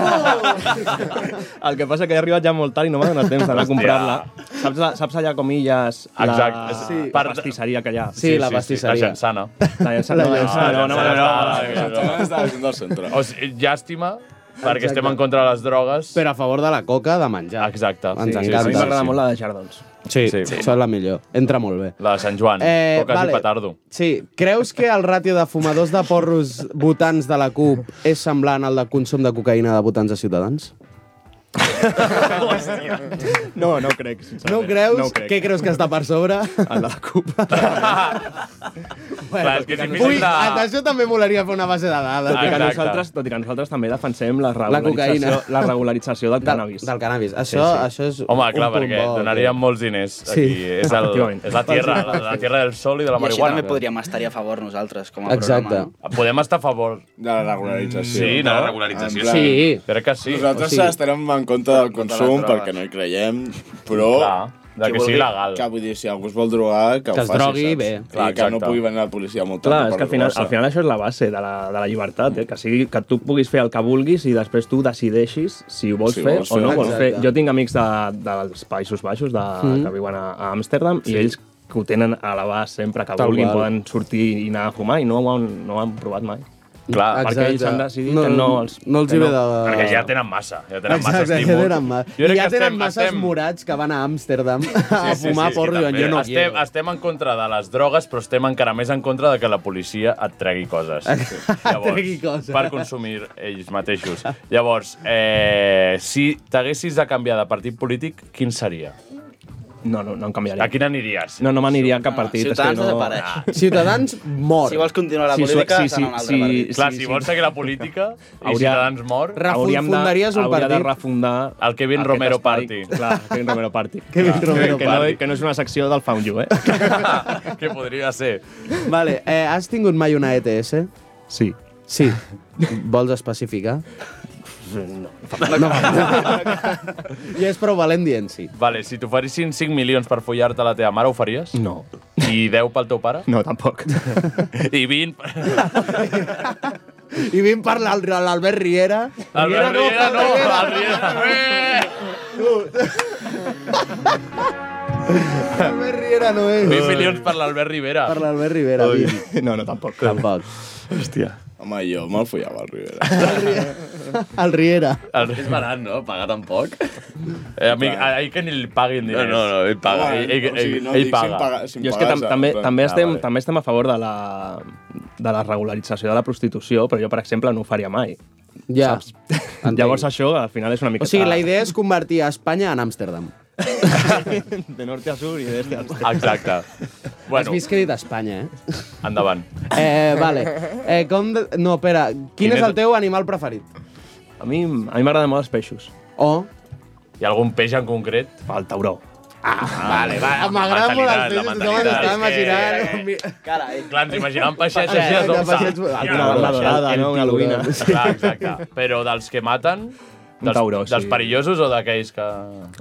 [SPEAKER 9] El que passa que he arribat ja molt tard i no m'ha donat temps d'anar a
[SPEAKER 3] Hòstia.
[SPEAKER 9] comprar-la. Saps, la- saps allà com illes...
[SPEAKER 3] Exacte.
[SPEAKER 9] La,
[SPEAKER 3] Sí.
[SPEAKER 9] la pastisseria que hi ha.
[SPEAKER 3] Sí, Sí, la sí, sí. pastisseria. La Jansana.
[SPEAKER 9] La llançana.
[SPEAKER 3] La
[SPEAKER 9] No,
[SPEAKER 3] Jansana.
[SPEAKER 9] no, no, no, no, no, no, no.
[SPEAKER 13] del centre.
[SPEAKER 3] O sigui, llàstima, perquè
[SPEAKER 8] Exacte.
[SPEAKER 3] estem en contra de les drogues.
[SPEAKER 8] Però a favor de la coca, de menjar.
[SPEAKER 3] Exacte.
[SPEAKER 8] Ens encanta.
[SPEAKER 9] la de Jardons.
[SPEAKER 8] Sí, sí, sí. és la millor. Entra molt bé.
[SPEAKER 3] La de Sant Joan.
[SPEAKER 8] Eh,
[SPEAKER 3] Eh, Coques
[SPEAKER 8] vale.
[SPEAKER 3] i petardo.
[SPEAKER 8] Sí, creus que el ràtio de fumadors de porros votants de la CUP és semblant al de consum de cocaïna de votants de Ciutadans?
[SPEAKER 9] No, no ho crec,
[SPEAKER 8] No
[SPEAKER 9] sincerament.
[SPEAKER 8] ho creus?
[SPEAKER 9] No ho crec.
[SPEAKER 8] Què creus que està per sobre?
[SPEAKER 9] En la CUP.
[SPEAKER 8] Clar, és que és difícil
[SPEAKER 9] Ui,
[SPEAKER 8] de- Això també molaria fer una base de dades.
[SPEAKER 9] Tot i, que nosaltres, tot i que nosaltres també defensem la regularització,
[SPEAKER 8] cocaïna.
[SPEAKER 9] la regularització del cannabis. Del,
[SPEAKER 8] cannabis. Això- això és
[SPEAKER 3] Home, clar, perquè
[SPEAKER 8] eh.
[SPEAKER 3] donaríem molts diners.
[SPEAKER 9] Sí.
[SPEAKER 3] Aquí. És, el,
[SPEAKER 9] Efectivament.
[SPEAKER 3] és la tierra, la, la tierra del sol i de la
[SPEAKER 12] I així
[SPEAKER 3] marihuana.
[SPEAKER 12] també podríem estar-hi a favor nosaltres, com a
[SPEAKER 3] Exacte.
[SPEAKER 12] programa.
[SPEAKER 3] Podem estar a favor.
[SPEAKER 13] De la regularització.
[SPEAKER 3] Sí, de la
[SPEAKER 13] no?
[SPEAKER 3] regularització.
[SPEAKER 13] En plan-
[SPEAKER 3] Sí. Crec que sí.
[SPEAKER 13] Nosaltres
[SPEAKER 3] O sigui-
[SPEAKER 13] estarem en contra del
[SPEAKER 3] contra
[SPEAKER 13] consum
[SPEAKER 3] les drogues.
[SPEAKER 13] perquè no hi creiem, però...
[SPEAKER 3] Clar, de
[SPEAKER 13] qui
[SPEAKER 3] que sigui
[SPEAKER 13] vulgui-
[SPEAKER 3] legal.
[SPEAKER 13] Que vull dir, si algú es vol drogar, que,
[SPEAKER 9] Que
[SPEAKER 13] ho
[SPEAKER 9] es
[SPEAKER 13] faci,
[SPEAKER 9] drogui,
[SPEAKER 13] saps?
[SPEAKER 9] bé.
[SPEAKER 13] I
[SPEAKER 9] Clar,
[SPEAKER 13] que no
[SPEAKER 9] exacte.
[SPEAKER 13] pugui venir la policia molt
[SPEAKER 9] Clar, és que al final, al final això és la base de la, de la llibertat, eh? que sigui que tu puguis fer el que vulguis i després tu decideixis si ho vols,
[SPEAKER 13] Si ho
[SPEAKER 9] fer,
[SPEAKER 13] vols
[SPEAKER 9] o
[SPEAKER 13] fer,
[SPEAKER 9] no ho vols fer.
[SPEAKER 13] exacte.
[SPEAKER 9] Jo tinc amics de, dels Països Baixos de,
[SPEAKER 13] Mm.
[SPEAKER 9] que viuen a, a Amsterdam
[SPEAKER 13] Sí.
[SPEAKER 9] i ells que ho tenen a l'abast sempre que
[SPEAKER 13] Tal
[SPEAKER 9] vulguin,
[SPEAKER 13] qual.
[SPEAKER 9] poden sortir i anar a fumar i no ho han, no ho han provat mai.
[SPEAKER 3] Clar,
[SPEAKER 9] perquè ells han decidit no, que no els...
[SPEAKER 8] no els
[SPEAKER 9] que
[SPEAKER 8] hi ve de-
[SPEAKER 3] Perquè ja tenen massa. Ja tenen massa
[SPEAKER 8] Exacte, ja
[SPEAKER 3] estímul.
[SPEAKER 8] tenen, ma...
[SPEAKER 3] Jo crec
[SPEAKER 8] ja
[SPEAKER 3] que
[SPEAKER 8] tenen
[SPEAKER 3] estem-
[SPEAKER 8] masses
[SPEAKER 3] estem-
[SPEAKER 8] morats que van a Amsterdam
[SPEAKER 3] Sí,
[SPEAKER 8] a
[SPEAKER 3] sí,
[SPEAKER 8] fumar
[SPEAKER 3] sí,
[SPEAKER 8] porro
[SPEAKER 3] sí,
[SPEAKER 8] i diuen,
[SPEAKER 3] també.
[SPEAKER 8] jo no
[SPEAKER 3] estem, estem en contra de les drogues, però estem encara més en contra de que la policia et tregui coses. Llavors,
[SPEAKER 8] tregui coses.
[SPEAKER 3] Per consumir ells mateixos. Llavors, eh, si t'haguessis de canviar de partit polític, quin seria?
[SPEAKER 9] No, no, no em canviaré.
[SPEAKER 3] A quin aniries?
[SPEAKER 9] No, no m'aniria a cap partit. és que
[SPEAKER 3] Ciutadans
[SPEAKER 9] no...
[SPEAKER 3] desapareix.
[SPEAKER 8] Ciutadans mor.
[SPEAKER 12] Si vols continuar la
[SPEAKER 9] Sí,
[SPEAKER 12] política,
[SPEAKER 9] sí,
[SPEAKER 12] has d'anar a un altre
[SPEAKER 9] sí,
[SPEAKER 12] partit.
[SPEAKER 3] Clar,
[SPEAKER 9] sí,
[SPEAKER 3] si
[SPEAKER 9] sí.
[SPEAKER 3] vols seguir la política i
[SPEAKER 9] Hauria-
[SPEAKER 3] Ciutadans mor...
[SPEAKER 9] hauríem de- Hauria de refundar...
[SPEAKER 3] El Kevin
[SPEAKER 9] aquest
[SPEAKER 3] Romero
[SPEAKER 9] espai.
[SPEAKER 3] Party.
[SPEAKER 9] Clar, el Kevin Romero Party.
[SPEAKER 3] Kevin
[SPEAKER 9] Clar,
[SPEAKER 3] Romero
[SPEAKER 9] que,
[SPEAKER 3] Party.
[SPEAKER 9] No, que no és una secció del Found You, eh?
[SPEAKER 3] que podria ser.
[SPEAKER 8] Vale, eh, has tingut mai una ETS?
[SPEAKER 9] Sí.
[SPEAKER 8] Sí. Vols especificar?
[SPEAKER 9] No.
[SPEAKER 8] No. I és prou valent dient sí.
[SPEAKER 3] Vale, si t'oferissin 5 milions per follar-te la teva mare, ho faries?
[SPEAKER 9] No.
[SPEAKER 3] I 10 pel teu pare?
[SPEAKER 9] No, tampoc.
[SPEAKER 3] I 20...
[SPEAKER 8] I vinc per l'Al- l'Albert Riera.
[SPEAKER 3] Albert Riera, no, Albert Riera.
[SPEAKER 8] Albert Riera no és.
[SPEAKER 3] 20 milions per l'Albert Rivera.
[SPEAKER 8] Per l'Albert Rivera,
[SPEAKER 13] Ui.
[SPEAKER 8] vint.
[SPEAKER 9] No, no, tampoc.
[SPEAKER 8] Tampoc.
[SPEAKER 9] Hòstia.
[SPEAKER 13] Home, jo me'l follava al Rivera.
[SPEAKER 8] El Riera.
[SPEAKER 3] El... És barat, no? Pagar tampoc. Eh, amic, ahir que ni li paguin diners.
[SPEAKER 10] No, no, no, ell paga.
[SPEAKER 3] Ell, ell,
[SPEAKER 10] O
[SPEAKER 3] ell,
[SPEAKER 10] sigui, no,
[SPEAKER 3] ell
[SPEAKER 10] dic,
[SPEAKER 3] paga.
[SPEAKER 9] Jo és que tam també,
[SPEAKER 3] doncs.
[SPEAKER 9] també,
[SPEAKER 3] Ah,
[SPEAKER 9] estem, també estem a favor de la, de la regularització de la prostitució, però jo, per exemple, no ho faria mai.
[SPEAKER 8] Ja.
[SPEAKER 9] Saps? Llavors això, al final, és una mica...
[SPEAKER 8] O sigui, la idea és convertir a Espanya en Amsterdam.
[SPEAKER 9] De norte a sur i d'este a
[SPEAKER 3] Exacte.
[SPEAKER 8] Has vist que he dit Espanya, eh?
[SPEAKER 3] Endavant.
[SPEAKER 8] Eh, vale. Eh, com de... No, espera. Quin,
[SPEAKER 9] Quin
[SPEAKER 8] és
[SPEAKER 9] és-
[SPEAKER 8] el teu animal preferit?
[SPEAKER 9] A mi, a mi m'agraden molt els peixos.
[SPEAKER 8] O...
[SPEAKER 3] Hi ha algun peix en concret?
[SPEAKER 9] El tauró.
[SPEAKER 3] Ah, vale,
[SPEAKER 8] Ah,
[SPEAKER 3] va.
[SPEAKER 8] m'agraden molt els peixos,
[SPEAKER 3] mentalitat,
[SPEAKER 8] tothom
[SPEAKER 3] la
[SPEAKER 8] ens estava
[SPEAKER 3] mentalitat. És
[SPEAKER 8] imaginant.
[SPEAKER 3] Que... Clar, ens imaginàvem peixets
[SPEAKER 8] Peixets,
[SPEAKER 3] així a
[SPEAKER 8] de peixets- Alguna
[SPEAKER 9] barba dorada, no? Una
[SPEAKER 8] albina.
[SPEAKER 3] Clar, exacte. Però dels que maten...
[SPEAKER 9] Un tauró,
[SPEAKER 3] dels, dels
[SPEAKER 9] sí.
[SPEAKER 3] perillosos o d'aquells que...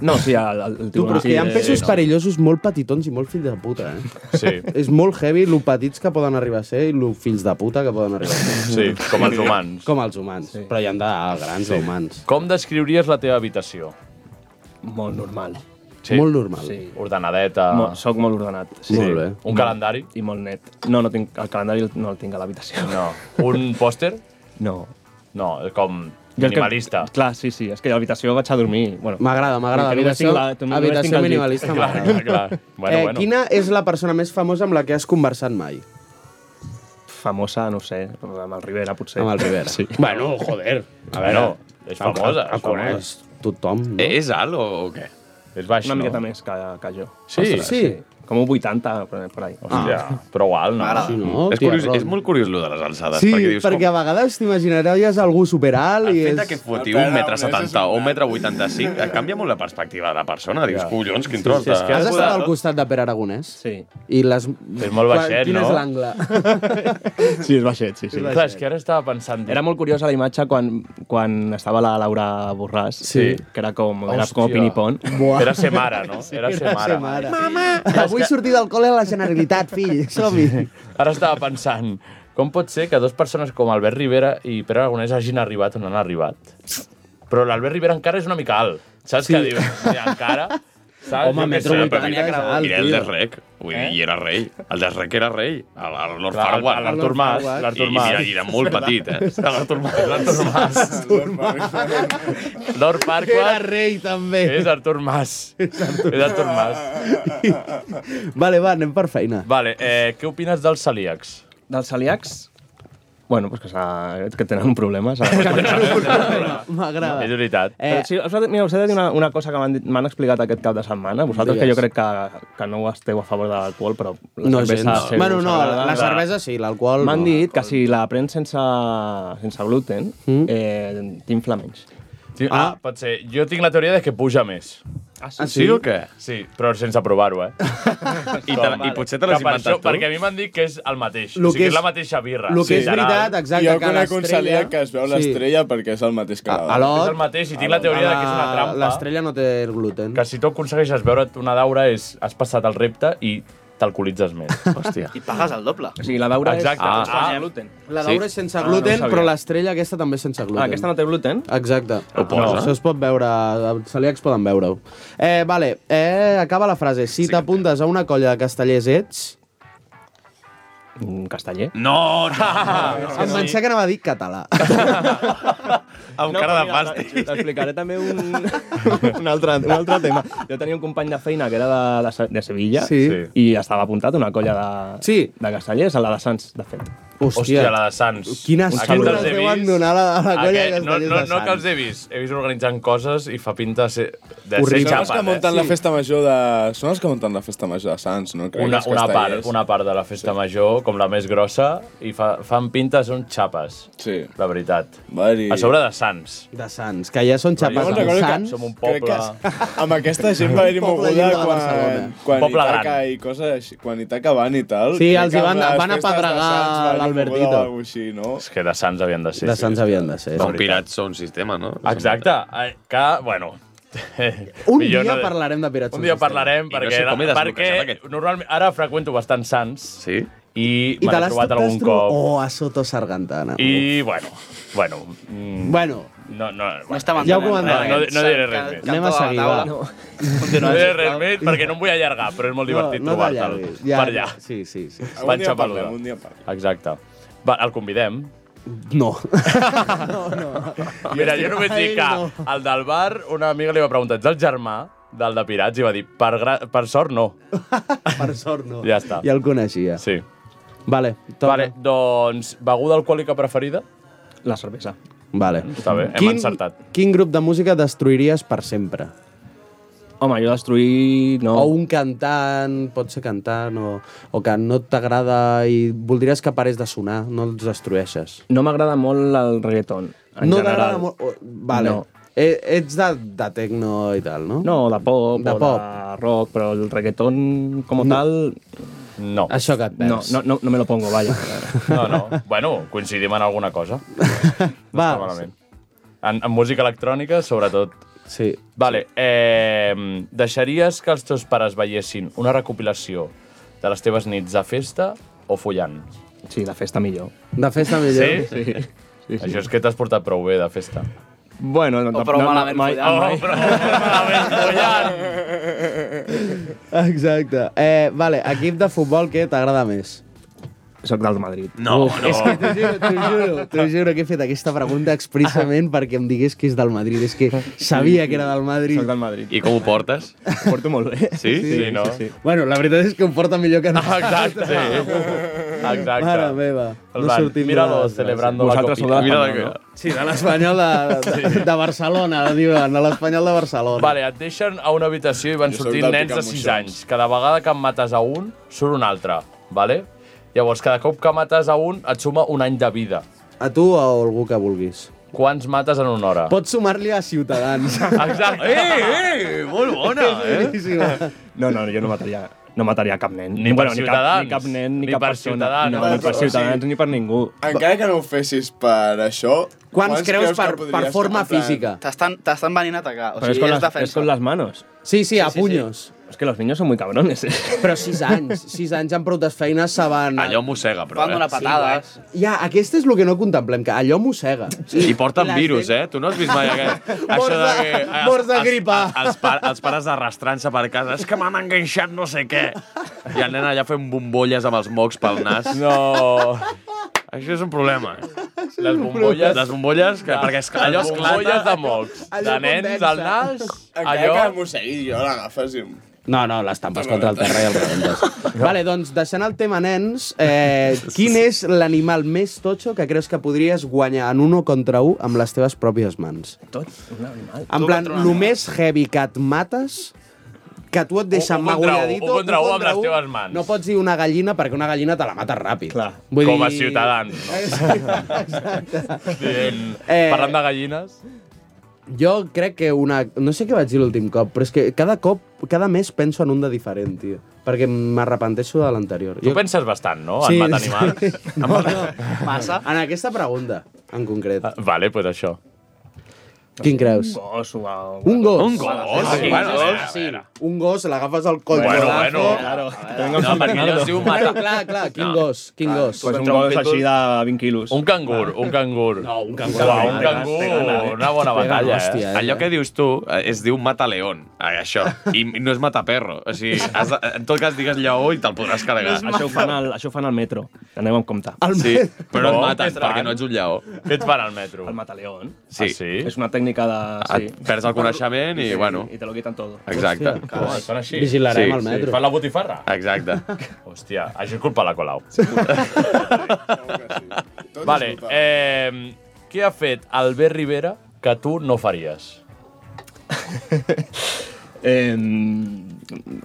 [SPEAKER 9] No, sí, el, el, el
[SPEAKER 8] Tu, però és que hi ha
[SPEAKER 9] sí,
[SPEAKER 8] peixos
[SPEAKER 9] no.
[SPEAKER 8] perillosos molt petitons i molt fills de puta, eh?
[SPEAKER 3] Sí.
[SPEAKER 8] És molt heavy lo petits que poden arribar a ser i lo fills de puta que poden arribar a ser.
[SPEAKER 3] Sí, com els humans.
[SPEAKER 8] Com els humans. Sí. Però hi ha de grans sí. humans.
[SPEAKER 3] Com descriuries la teva habitació?
[SPEAKER 9] Molt normal.
[SPEAKER 3] Sí.
[SPEAKER 8] Molt normal.
[SPEAKER 3] Sí. Ordenadeta.
[SPEAKER 9] Mo, soc molt ordenat. Sí.
[SPEAKER 3] Molt bé. Un calendari?
[SPEAKER 9] I molt net. No, no tinc, el calendari no el tinc a l'habitació.
[SPEAKER 3] No. Un pòster?
[SPEAKER 9] No.
[SPEAKER 3] No, com
[SPEAKER 9] Jo és que-
[SPEAKER 3] minimalista.
[SPEAKER 9] Clar, sí, sí. És que a l'habitació vaig a dormir. Bueno,
[SPEAKER 8] M'agrada, m'agrada.
[SPEAKER 9] que només
[SPEAKER 8] Habitació-
[SPEAKER 9] tinc la- només
[SPEAKER 8] habitació
[SPEAKER 9] tinc el llit.
[SPEAKER 8] minimalista Clar, m'agrada.
[SPEAKER 3] clar.
[SPEAKER 8] Bueno, eh, bueno. Quina és la persona més famosa amb la que has conversat mai?
[SPEAKER 9] Famosa, no ho sé, amb el Rivera, potser.
[SPEAKER 8] Amb el Rivera.
[SPEAKER 9] Sí.
[SPEAKER 8] Bueno, joder.
[SPEAKER 3] A veure, és famosa, eh?
[SPEAKER 8] El, el, el
[SPEAKER 3] és famosa.
[SPEAKER 8] coneix tothom. No?
[SPEAKER 10] És alt o, o què?
[SPEAKER 3] És baix,
[SPEAKER 9] Una
[SPEAKER 3] no?
[SPEAKER 9] miqueta més que, que jo.
[SPEAKER 10] Sí? Sí.
[SPEAKER 9] Com un 80, per, per ahí.
[SPEAKER 3] Hòstia, però igual, no?
[SPEAKER 10] M'agrada.
[SPEAKER 8] Sí, no?
[SPEAKER 10] és,
[SPEAKER 8] Tia,
[SPEAKER 10] curiós,
[SPEAKER 8] Ron.
[SPEAKER 10] és molt curiós lo de les alçades,
[SPEAKER 8] Sí,
[SPEAKER 10] perquè dius
[SPEAKER 8] perquè
[SPEAKER 10] com...
[SPEAKER 8] a vegades t'imaginaries algú superalt
[SPEAKER 10] El
[SPEAKER 8] i
[SPEAKER 10] fet
[SPEAKER 8] és...
[SPEAKER 10] de que foti un metre setanta o un metre vuitanta cinc et canvia molt la perspectiva de la persona. Dius,
[SPEAKER 3] Ja.
[SPEAKER 10] collons, quin
[SPEAKER 3] Sí,
[SPEAKER 10] tros
[SPEAKER 3] sí,
[SPEAKER 10] de...
[SPEAKER 3] és que
[SPEAKER 8] Has estat al costat de Pere Aragonès?
[SPEAKER 9] Sí.
[SPEAKER 8] I les...
[SPEAKER 3] És molt baixet,
[SPEAKER 8] Quin
[SPEAKER 3] no?
[SPEAKER 8] és l'angle?
[SPEAKER 9] Sí, és baixet, sí, sí.
[SPEAKER 3] Clar, és que ara estava pensant...
[SPEAKER 9] Era molt curiosa la imatge quan, quan estava la Laura Borràs,
[SPEAKER 3] Sí.
[SPEAKER 9] que era com, era
[SPEAKER 3] Hòstia.
[SPEAKER 9] com pinipon.
[SPEAKER 3] Buah. Era ser mare, no? Era ser mare.
[SPEAKER 8] Mama, avui sortir del col·le a la Generalitat, fill. Som-hi.
[SPEAKER 3] Ara estava pensant, com pot ser que dues persones com Albert Rivera i Pere Aragonès hagin arribat on han arribat? Però l'Albert Rivera encara és una mica alt. Saps sí. què dius? Sí, encara... Saps?
[SPEAKER 8] Home,
[SPEAKER 3] Jo què
[SPEAKER 8] metro
[SPEAKER 3] sé,
[SPEAKER 8] vuitanta
[SPEAKER 3] però-
[SPEAKER 8] és alt,
[SPEAKER 10] Mira, el
[SPEAKER 8] tio.
[SPEAKER 10] desrec, vull dir, i era rei. El desrec era rei, a la- a Lord
[SPEAKER 3] Eh? Clar,
[SPEAKER 10] Farquaad.
[SPEAKER 3] a l'Artur Mas,
[SPEAKER 10] I-
[SPEAKER 3] l'Artur Mas.
[SPEAKER 10] I, mira, i era molt petit, eh?
[SPEAKER 3] A L'Artur Mas. L'Artur Mas. Lord
[SPEAKER 8] Era
[SPEAKER 3] Farquaad
[SPEAKER 8] rei, també.
[SPEAKER 3] és Artur Mas. És Artur Mas.
[SPEAKER 8] Vale, va, anem per feina.
[SPEAKER 3] Vale, eh, què opines dels celíacs?
[SPEAKER 9] Dels celíacs? Bueno, pues que, s'ha- que tenen un problema. s'ha-
[SPEAKER 8] M'agrada.
[SPEAKER 9] És veritat.
[SPEAKER 8] Eh,
[SPEAKER 9] Eh, sí, us, he de- mira, us he de dir una, una cosa que m'han dit- m'han explicat aquest cap de setmana. Vosaltres, que
[SPEAKER 8] Digues.
[SPEAKER 9] jo crec que, que no esteu a favor de l'alcohol, però la
[SPEAKER 8] No,
[SPEAKER 9] cervesa...
[SPEAKER 8] gens.
[SPEAKER 9] sí,
[SPEAKER 8] Bueno,
[SPEAKER 9] us
[SPEAKER 8] no,
[SPEAKER 9] agrada.
[SPEAKER 8] la- la cervesa sí, l'alcohol
[SPEAKER 9] M'han
[SPEAKER 8] no,
[SPEAKER 9] dit que si la prens sense, sense gluten, mm. eh, t'infla menys.
[SPEAKER 3] Sí, ah, pot ser. Jo tinc la teoria de que puja més. Ah,
[SPEAKER 9] sí? Sí o
[SPEAKER 3] què? Sí, però sense provar-ho, eh?
[SPEAKER 10] I, te, I potser te l'has
[SPEAKER 3] Que per
[SPEAKER 10] inventat
[SPEAKER 3] això,
[SPEAKER 10] tu.
[SPEAKER 3] Perquè a mi m'han dit que és el mateix.
[SPEAKER 10] Lo
[SPEAKER 3] o sigui,
[SPEAKER 10] que
[SPEAKER 3] que és,
[SPEAKER 10] és-
[SPEAKER 3] la mateixa birra.
[SPEAKER 10] lo que és
[SPEAKER 3] literal.
[SPEAKER 10] veritat, exacte,
[SPEAKER 13] Jo conec un
[SPEAKER 8] l'estrella-
[SPEAKER 13] celíac que es veu
[SPEAKER 8] Sí.
[SPEAKER 13] l'estrella perquè és el mateix que l'altre.
[SPEAKER 3] És el mateix i tinc la teoria de que és una trampa.
[SPEAKER 8] Ah, L'estrella no té el gluten.
[SPEAKER 3] Que si tu aconsegueixes veure't una daura és has passat el repte i t'alcoholitzes més. Hòstia.
[SPEAKER 12] I pagues el doble.
[SPEAKER 9] O sigui, la daura és-
[SPEAKER 3] Exacte.
[SPEAKER 9] Ah.
[SPEAKER 12] Ah, gluten.
[SPEAKER 8] La daura és
[SPEAKER 3] Ah,
[SPEAKER 8] sense gluten,
[SPEAKER 9] sabia.
[SPEAKER 8] però l'estrella aquesta també és sense gluten.
[SPEAKER 9] Ah, aquesta no té gluten?
[SPEAKER 8] Exacte.
[SPEAKER 3] Ah,
[SPEAKER 8] Ho
[SPEAKER 9] posa.
[SPEAKER 8] Això es pot veure, els celíacs poden veure-ho. Eh, vale, eh, acaba la frase. Si t'apuntes a una colla de castellers ets...
[SPEAKER 9] Un casteller?
[SPEAKER 3] No, no.
[SPEAKER 8] Em pensava que anava a dir català.
[SPEAKER 9] Amb no, Ah, cara de pasta. T'explicaré també un, un, altre, un altre tema. Jo tenia un company de feina que era de, de, Se- de Sevilla
[SPEAKER 8] Sí.
[SPEAKER 9] i estava apuntat a una colla de, sí. de castellers, a la de Sants, de fet.
[SPEAKER 8] Hòstia.
[SPEAKER 3] Hòstia, la de Sants.
[SPEAKER 8] Quina
[SPEAKER 3] Aquest
[SPEAKER 8] salut
[SPEAKER 3] els
[SPEAKER 8] es
[SPEAKER 3] he
[SPEAKER 8] deuen
[SPEAKER 3] vist.
[SPEAKER 8] donar a la- a la colla de
[SPEAKER 3] no,
[SPEAKER 8] castellers
[SPEAKER 3] no,
[SPEAKER 8] de
[SPEAKER 3] no que
[SPEAKER 8] Sants.
[SPEAKER 3] els he vist. He vist organitzant coses i fa pinta de ser, de ser
[SPEAKER 13] Horrible. Són els
[SPEAKER 3] xapa.
[SPEAKER 13] que munten la festa major de... Són els que munten la festa major de Sants, no? Crec,
[SPEAKER 3] Una,
[SPEAKER 13] els
[SPEAKER 3] una, part,
[SPEAKER 13] castellers.
[SPEAKER 3] una part de la festa major, com la més grossa, i fa, fan pinta, són xapes.
[SPEAKER 13] Sí.
[SPEAKER 3] La veritat.
[SPEAKER 13] Vari.
[SPEAKER 3] A sobre de Sants.
[SPEAKER 8] De Sants, que ja són xapes.
[SPEAKER 13] me'n recordo que
[SPEAKER 3] Som un
[SPEAKER 13] crec
[SPEAKER 3] poble...
[SPEAKER 13] que amb aquesta gent va haver-hi
[SPEAKER 8] Poble
[SPEAKER 13] moguda
[SPEAKER 8] lliure de
[SPEAKER 13] quan,
[SPEAKER 8] Barcelona.
[SPEAKER 13] quan
[SPEAKER 3] Poble
[SPEAKER 13] Itaca
[SPEAKER 3] gran.
[SPEAKER 13] i coses així, quan Itaca van i tal.
[SPEAKER 8] Sí,
[SPEAKER 13] crec
[SPEAKER 8] els
[SPEAKER 13] que
[SPEAKER 8] hi
[SPEAKER 13] amb
[SPEAKER 8] van-
[SPEAKER 13] les
[SPEAKER 8] van
[SPEAKER 13] festes de
[SPEAKER 8] apedregar
[SPEAKER 13] Sants va haver-hi
[SPEAKER 8] l'Albertito.
[SPEAKER 13] moguda o alguna cosa Així, no?
[SPEAKER 3] És que de Sants havien de ser.
[SPEAKER 8] De Sants havien de ser.
[SPEAKER 10] Són pirats, són sistema, no?
[SPEAKER 3] Exacte. eh, Que, bueno...
[SPEAKER 8] Un
[SPEAKER 3] millor
[SPEAKER 8] dia
[SPEAKER 3] no-
[SPEAKER 8] parlarem de pirats.
[SPEAKER 3] Un dia parlarem,
[SPEAKER 10] no
[SPEAKER 3] perquè,
[SPEAKER 10] sé com he desbloquejat
[SPEAKER 3] perquè normalment, ara freqüento bastant Sants
[SPEAKER 10] sí?
[SPEAKER 3] i, me l'he trobat algun cop.
[SPEAKER 8] Oh, a Soto Sargantana.
[SPEAKER 3] I, bueno, bueno... mm,
[SPEAKER 8] Bueno.
[SPEAKER 3] No, no, bueno,
[SPEAKER 8] estava Ja ho entenent comentarem.
[SPEAKER 3] No,
[SPEAKER 8] res.
[SPEAKER 3] no, no diré res més.
[SPEAKER 8] Anem a seguir, va. No,
[SPEAKER 3] No diré res més perquè no em vull allargar, però és molt divertit
[SPEAKER 8] no
[SPEAKER 3] trobar-te'l
[SPEAKER 8] t'allarguis.
[SPEAKER 3] per allà.
[SPEAKER 8] Sí, sí, sí.
[SPEAKER 13] Un
[SPEAKER 3] Van
[SPEAKER 13] dia
[SPEAKER 3] xapaluda.
[SPEAKER 13] parlem, un dia parlem.
[SPEAKER 3] Exacte. Va, el convidem.
[SPEAKER 8] No.
[SPEAKER 3] Mira, jo només dic que
[SPEAKER 8] Ai,
[SPEAKER 3] el del bar, una amiga li va preguntar, ets el germà del de Pirats? I va dir, per, gra... per sort no.
[SPEAKER 8] Per sort, no.
[SPEAKER 3] Ja està.
[SPEAKER 8] Ja el coneixia.
[SPEAKER 3] Sí.
[SPEAKER 8] Vale, toca.
[SPEAKER 3] Vale, doncs, beguda alcohòlica preferida?
[SPEAKER 9] La cervesa.
[SPEAKER 8] Vale.
[SPEAKER 3] Està bé, hem encertat.
[SPEAKER 8] Quin grup de música destruiries per sempre?
[SPEAKER 9] Home, jo destruir... No.
[SPEAKER 8] O un cantant, pot ser cantant, o, o que no t'agrada i voldries que parés de sonar, no els destrueixes.
[SPEAKER 9] No m'agrada molt el reggaeton, en
[SPEAKER 8] no
[SPEAKER 9] general.
[SPEAKER 8] t'agrada molt... o- Vale.
[SPEAKER 9] No.
[SPEAKER 8] E- Ets de, de tecno i tal, no?
[SPEAKER 9] No, de pop,
[SPEAKER 8] De
[SPEAKER 9] de o
[SPEAKER 8] pop.
[SPEAKER 9] de rock, però el reggaeton com no. tal...
[SPEAKER 3] No.
[SPEAKER 8] Això que et
[SPEAKER 9] No,
[SPEAKER 8] perds.
[SPEAKER 9] no, no, no me lo pongo, vaya.
[SPEAKER 3] No, no. Bueno, coincidim en alguna cosa.
[SPEAKER 8] Va,
[SPEAKER 3] Està malament. En, en música electrònica, sobretot.
[SPEAKER 8] Sí.
[SPEAKER 3] Vale, eh, deixaries que els teus pares veiessin una recopilació de les teves nits de festa o follant?
[SPEAKER 9] Sí, de festa millor.
[SPEAKER 8] De festa millor.
[SPEAKER 3] Sí?
[SPEAKER 9] Sí. sí, sí.
[SPEAKER 3] Això és que t'has portat prou bé de festa.
[SPEAKER 9] Bueno, no,
[SPEAKER 12] prou
[SPEAKER 9] no, Oh.
[SPEAKER 12] malament
[SPEAKER 9] mai,
[SPEAKER 12] follant,
[SPEAKER 9] mai.
[SPEAKER 12] no?
[SPEAKER 8] Exacte. Eh, vale, equip de futbol que t'agrada més?
[SPEAKER 9] Soc del Madrid.
[SPEAKER 10] No, no.
[SPEAKER 8] És que t'ho juro, t'ho juro, t'ho juro que he fet aquesta pregunta expressament perquè em digués que és del Madrid. És que sabia que era del Madrid.
[SPEAKER 9] Soc del Madrid.
[SPEAKER 10] I com ho portes?
[SPEAKER 9] Ho porto molt bé.
[SPEAKER 10] Sí? Sí, no?
[SPEAKER 9] Sí, sí.
[SPEAKER 8] Bueno, la veritat és que em porta millor que nosaltres.
[SPEAKER 3] Ah, Exacte, sí. Exacte. Doncs
[SPEAKER 8] Mare meva.
[SPEAKER 3] El van,
[SPEAKER 8] sortim de
[SPEAKER 3] míralo,
[SPEAKER 8] les-
[SPEAKER 3] celebrando la
[SPEAKER 9] Vosaltres sou de
[SPEAKER 3] copita.
[SPEAKER 10] Mira la
[SPEAKER 9] l'Espanyol,
[SPEAKER 10] que-
[SPEAKER 9] no?
[SPEAKER 8] Sí, de l'Espanyol de, de, de Barcelona, diuen, de l'Espanyol de Barcelona.
[SPEAKER 3] Vale, et deixen a una habitació i van
[SPEAKER 13] Jo soc
[SPEAKER 3] sortint
[SPEAKER 13] del
[SPEAKER 3] nens de
[SPEAKER 13] Picamuixons.
[SPEAKER 3] 6 anys. Cada vegada que en mates a un, surt un altre, vale? Llavors, cada cop que mates a un, et suma un any de vida.
[SPEAKER 8] A tu o a algú que vulguis.
[SPEAKER 3] Quants mates en una hora?
[SPEAKER 8] Pots sumar-li a Ciutadans.
[SPEAKER 3] Exacte.
[SPEAKER 10] Eh, eh, molt bona, eh?
[SPEAKER 8] Boníssima.
[SPEAKER 9] No, no, jo no mataria, no mataria cap nen.
[SPEAKER 3] Ni per
[SPEAKER 9] ni cap,
[SPEAKER 3] Ciutadans,
[SPEAKER 9] ni cap nen, ni,
[SPEAKER 3] ni
[SPEAKER 9] cap
[SPEAKER 3] per
[SPEAKER 9] persona.
[SPEAKER 3] Ciutadans.
[SPEAKER 9] No, ni per
[SPEAKER 13] Sí.
[SPEAKER 9] Ciutadans, ni per ningú.
[SPEAKER 13] Encara que no ho fessis per això...
[SPEAKER 8] Quants creus
[SPEAKER 13] que
[SPEAKER 8] per, per
[SPEAKER 13] podries
[SPEAKER 8] forma
[SPEAKER 13] comprar?
[SPEAKER 8] física?
[SPEAKER 12] T'estan t'estan venint a atacar. O
[SPEAKER 9] Però és
[SPEAKER 12] sigui,
[SPEAKER 9] con,
[SPEAKER 12] és
[SPEAKER 9] las, es
[SPEAKER 12] defensa.
[SPEAKER 9] con las manos.
[SPEAKER 8] Sí, sí, a punyos.
[SPEAKER 9] Es que los niños son muy cabrones, eh?
[SPEAKER 8] Però sis anys, sis anys amb proutes feines se van...
[SPEAKER 10] Allò mossega, però,
[SPEAKER 12] Van donar
[SPEAKER 10] eh?
[SPEAKER 12] patades.
[SPEAKER 8] Ja, aquest és el que no contemplem, que allò mossega.
[SPEAKER 10] I porten virus, eh? Tu no has vist mai aquest...
[SPEAKER 8] Morts
[SPEAKER 10] això de
[SPEAKER 8] de-
[SPEAKER 10] que... eh,
[SPEAKER 8] morts de
[SPEAKER 10] els-
[SPEAKER 8] gripa.
[SPEAKER 10] Els, els, pa, els pares arrastrant-se per casa. És que m'han enganxat no sé què. I el nen allà fent bombolles amb els mocs pel nas.
[SPEAKER 3] No.
[SPEAKER 10] Això és un problema. eh?
[SPEAKER 3] Les bombolles...
[SPEAKER 10] Les bombolles, que, perquè es, allò
[SPEAKER 3] les
[SPEAKER 10] esclata...
[SPEAKER 3] bombolles de mocs.
[SPEAKER 10] Allò
[SPEAKER 3] de nens
[SPEAKER 10] condensa.
[SPEAKER 3] al nas,
[SPEAKER 13] Allò...
[SPEAKER 3] allò...
[SPEAKER 13] Que el mossegui jo, l'agafes i...
[SPEAKER 8] No, no, l'estampes contra el terra i el rebentes. vale, doncs, deixant el tema nens, eh, quin és l'animal més totxo que creus que podries guanyar en un o contra un amb les teves pròpies mans?
[SPEAKER 9] Tot? Un animal?
[SPEAKER 8] En plan, el més heavy que et mates que tu et deixa
[SPEAKER 3] Un contra un,
[SPEAKER 8] magulladito...
[SPEAKER 3] un contra un amb les
[SPEAKER 8] un.
[SPEAKER 3] teves mans.
[SPEAKER 8] No pots dir una gallina perquè una gallina te la mates ràpid. Clar.
[SPEAKER 3] Com a ciutadans. Dient,
[SPEAKER 8] Eh,
[SPEAKER 3] Parlant de gallines...
[SPEAKER 8] Jo crec que una... No sé què vaig dir l'últim cop, però és que cada cop, cada mes penso en un de diferent, tio. Perquè m'arrepenteixo de l'anterior.
[SPEAKER 3] Tu penses bastant, no?
[SPEAKER 8] Sí,
[SPEAKER 3] En matar
[SPEAKER 8] sí.
[SPEAKER 3] animals.
[SPEAKER 8] No, no. Massa. En aquesta pregunta, en concret.
[SPEAKER 3] Vale, pues això.
[SPEAKER 8] Quin creus?
[SPEAKER 9] Un gos o algo.
[SPEAKER 8] Un gos.
[SPEAKER 3] Un gos?
[SPEAKER 8] Sí,
[SPEAKER 3] Bueno,
[SPEAKER 8] un gos,
[SPEAKER 3] a
[SPEAKER 8] sí. Un gos, l'agafes al coll.
[SPEAKER 3] Bueno,
[SPEAKER 8] l'agafes.
[SPEAKER 3] bueno.
[SPEAKER 8] Claro.
[SPEAKER 3] No, perquè allò es diu mata.
[SPEAKER 8] Bueno, clar, clar, quin gos, quin gos.
[SPEAKER 9] Pues un gos així de 20 quilos.
[SPEAKER 3] Un cangur, un cangur.
[SPEAKER 8] No, un
[SPEAKER 3] cangur.
[SPEAKER 8] cangur.
[SPEAKER 3] un cangur, una bona batalla, eh?
[SPEAKER 10] Allò que dius tu eh, es diu mata león, eh, això. I no és mata perro. O sigui, has de, en tot cas digues lleó i te'l podràs carregar.
[SPEAKER 9] Això ho, fan al, això ho fan al metro. Aneu amb compte.
[SPEAKER 13] Ah.
[SPEAKER 10] Sí, però no,
[SPEAKER 9] No,
[SPEAKER 10] et
[SPEAKER 9] què
[SPEAKER 10] mates
[SPEAKER 9] et fan?
[SPEAKER 10] perquè no ets un lleó.
[SPEAKER 3] Què et fan al metro? Ah,
[SPEAKER 9] El mataleón.
[SPEAKER 10] Ah, Sí.
[SPEAKER 9] És una tècnica de...
[SPEAKER 13] Ah,
[SPEAKER 9] Sí.
[SPEAKER 10] Et perds el coneixement i, bueno...
[SPEAKER 9] I te lo quitan todo.
[SPEAKER 10] Exacte.
[SPEAKER 3] Hòstia, Són així.
[SPEAKER 10] Vigilarem el metro.
[SPEAKER 3] Fan la botifarra.
[SPEAKER 10] Exacte.
[SPEAKER 3] Ah. Hòstia, això és culpa de la Colau. vale, eh, què ha fet Albert Rivera que tu no faries?
[SPEAKER 9] Eh,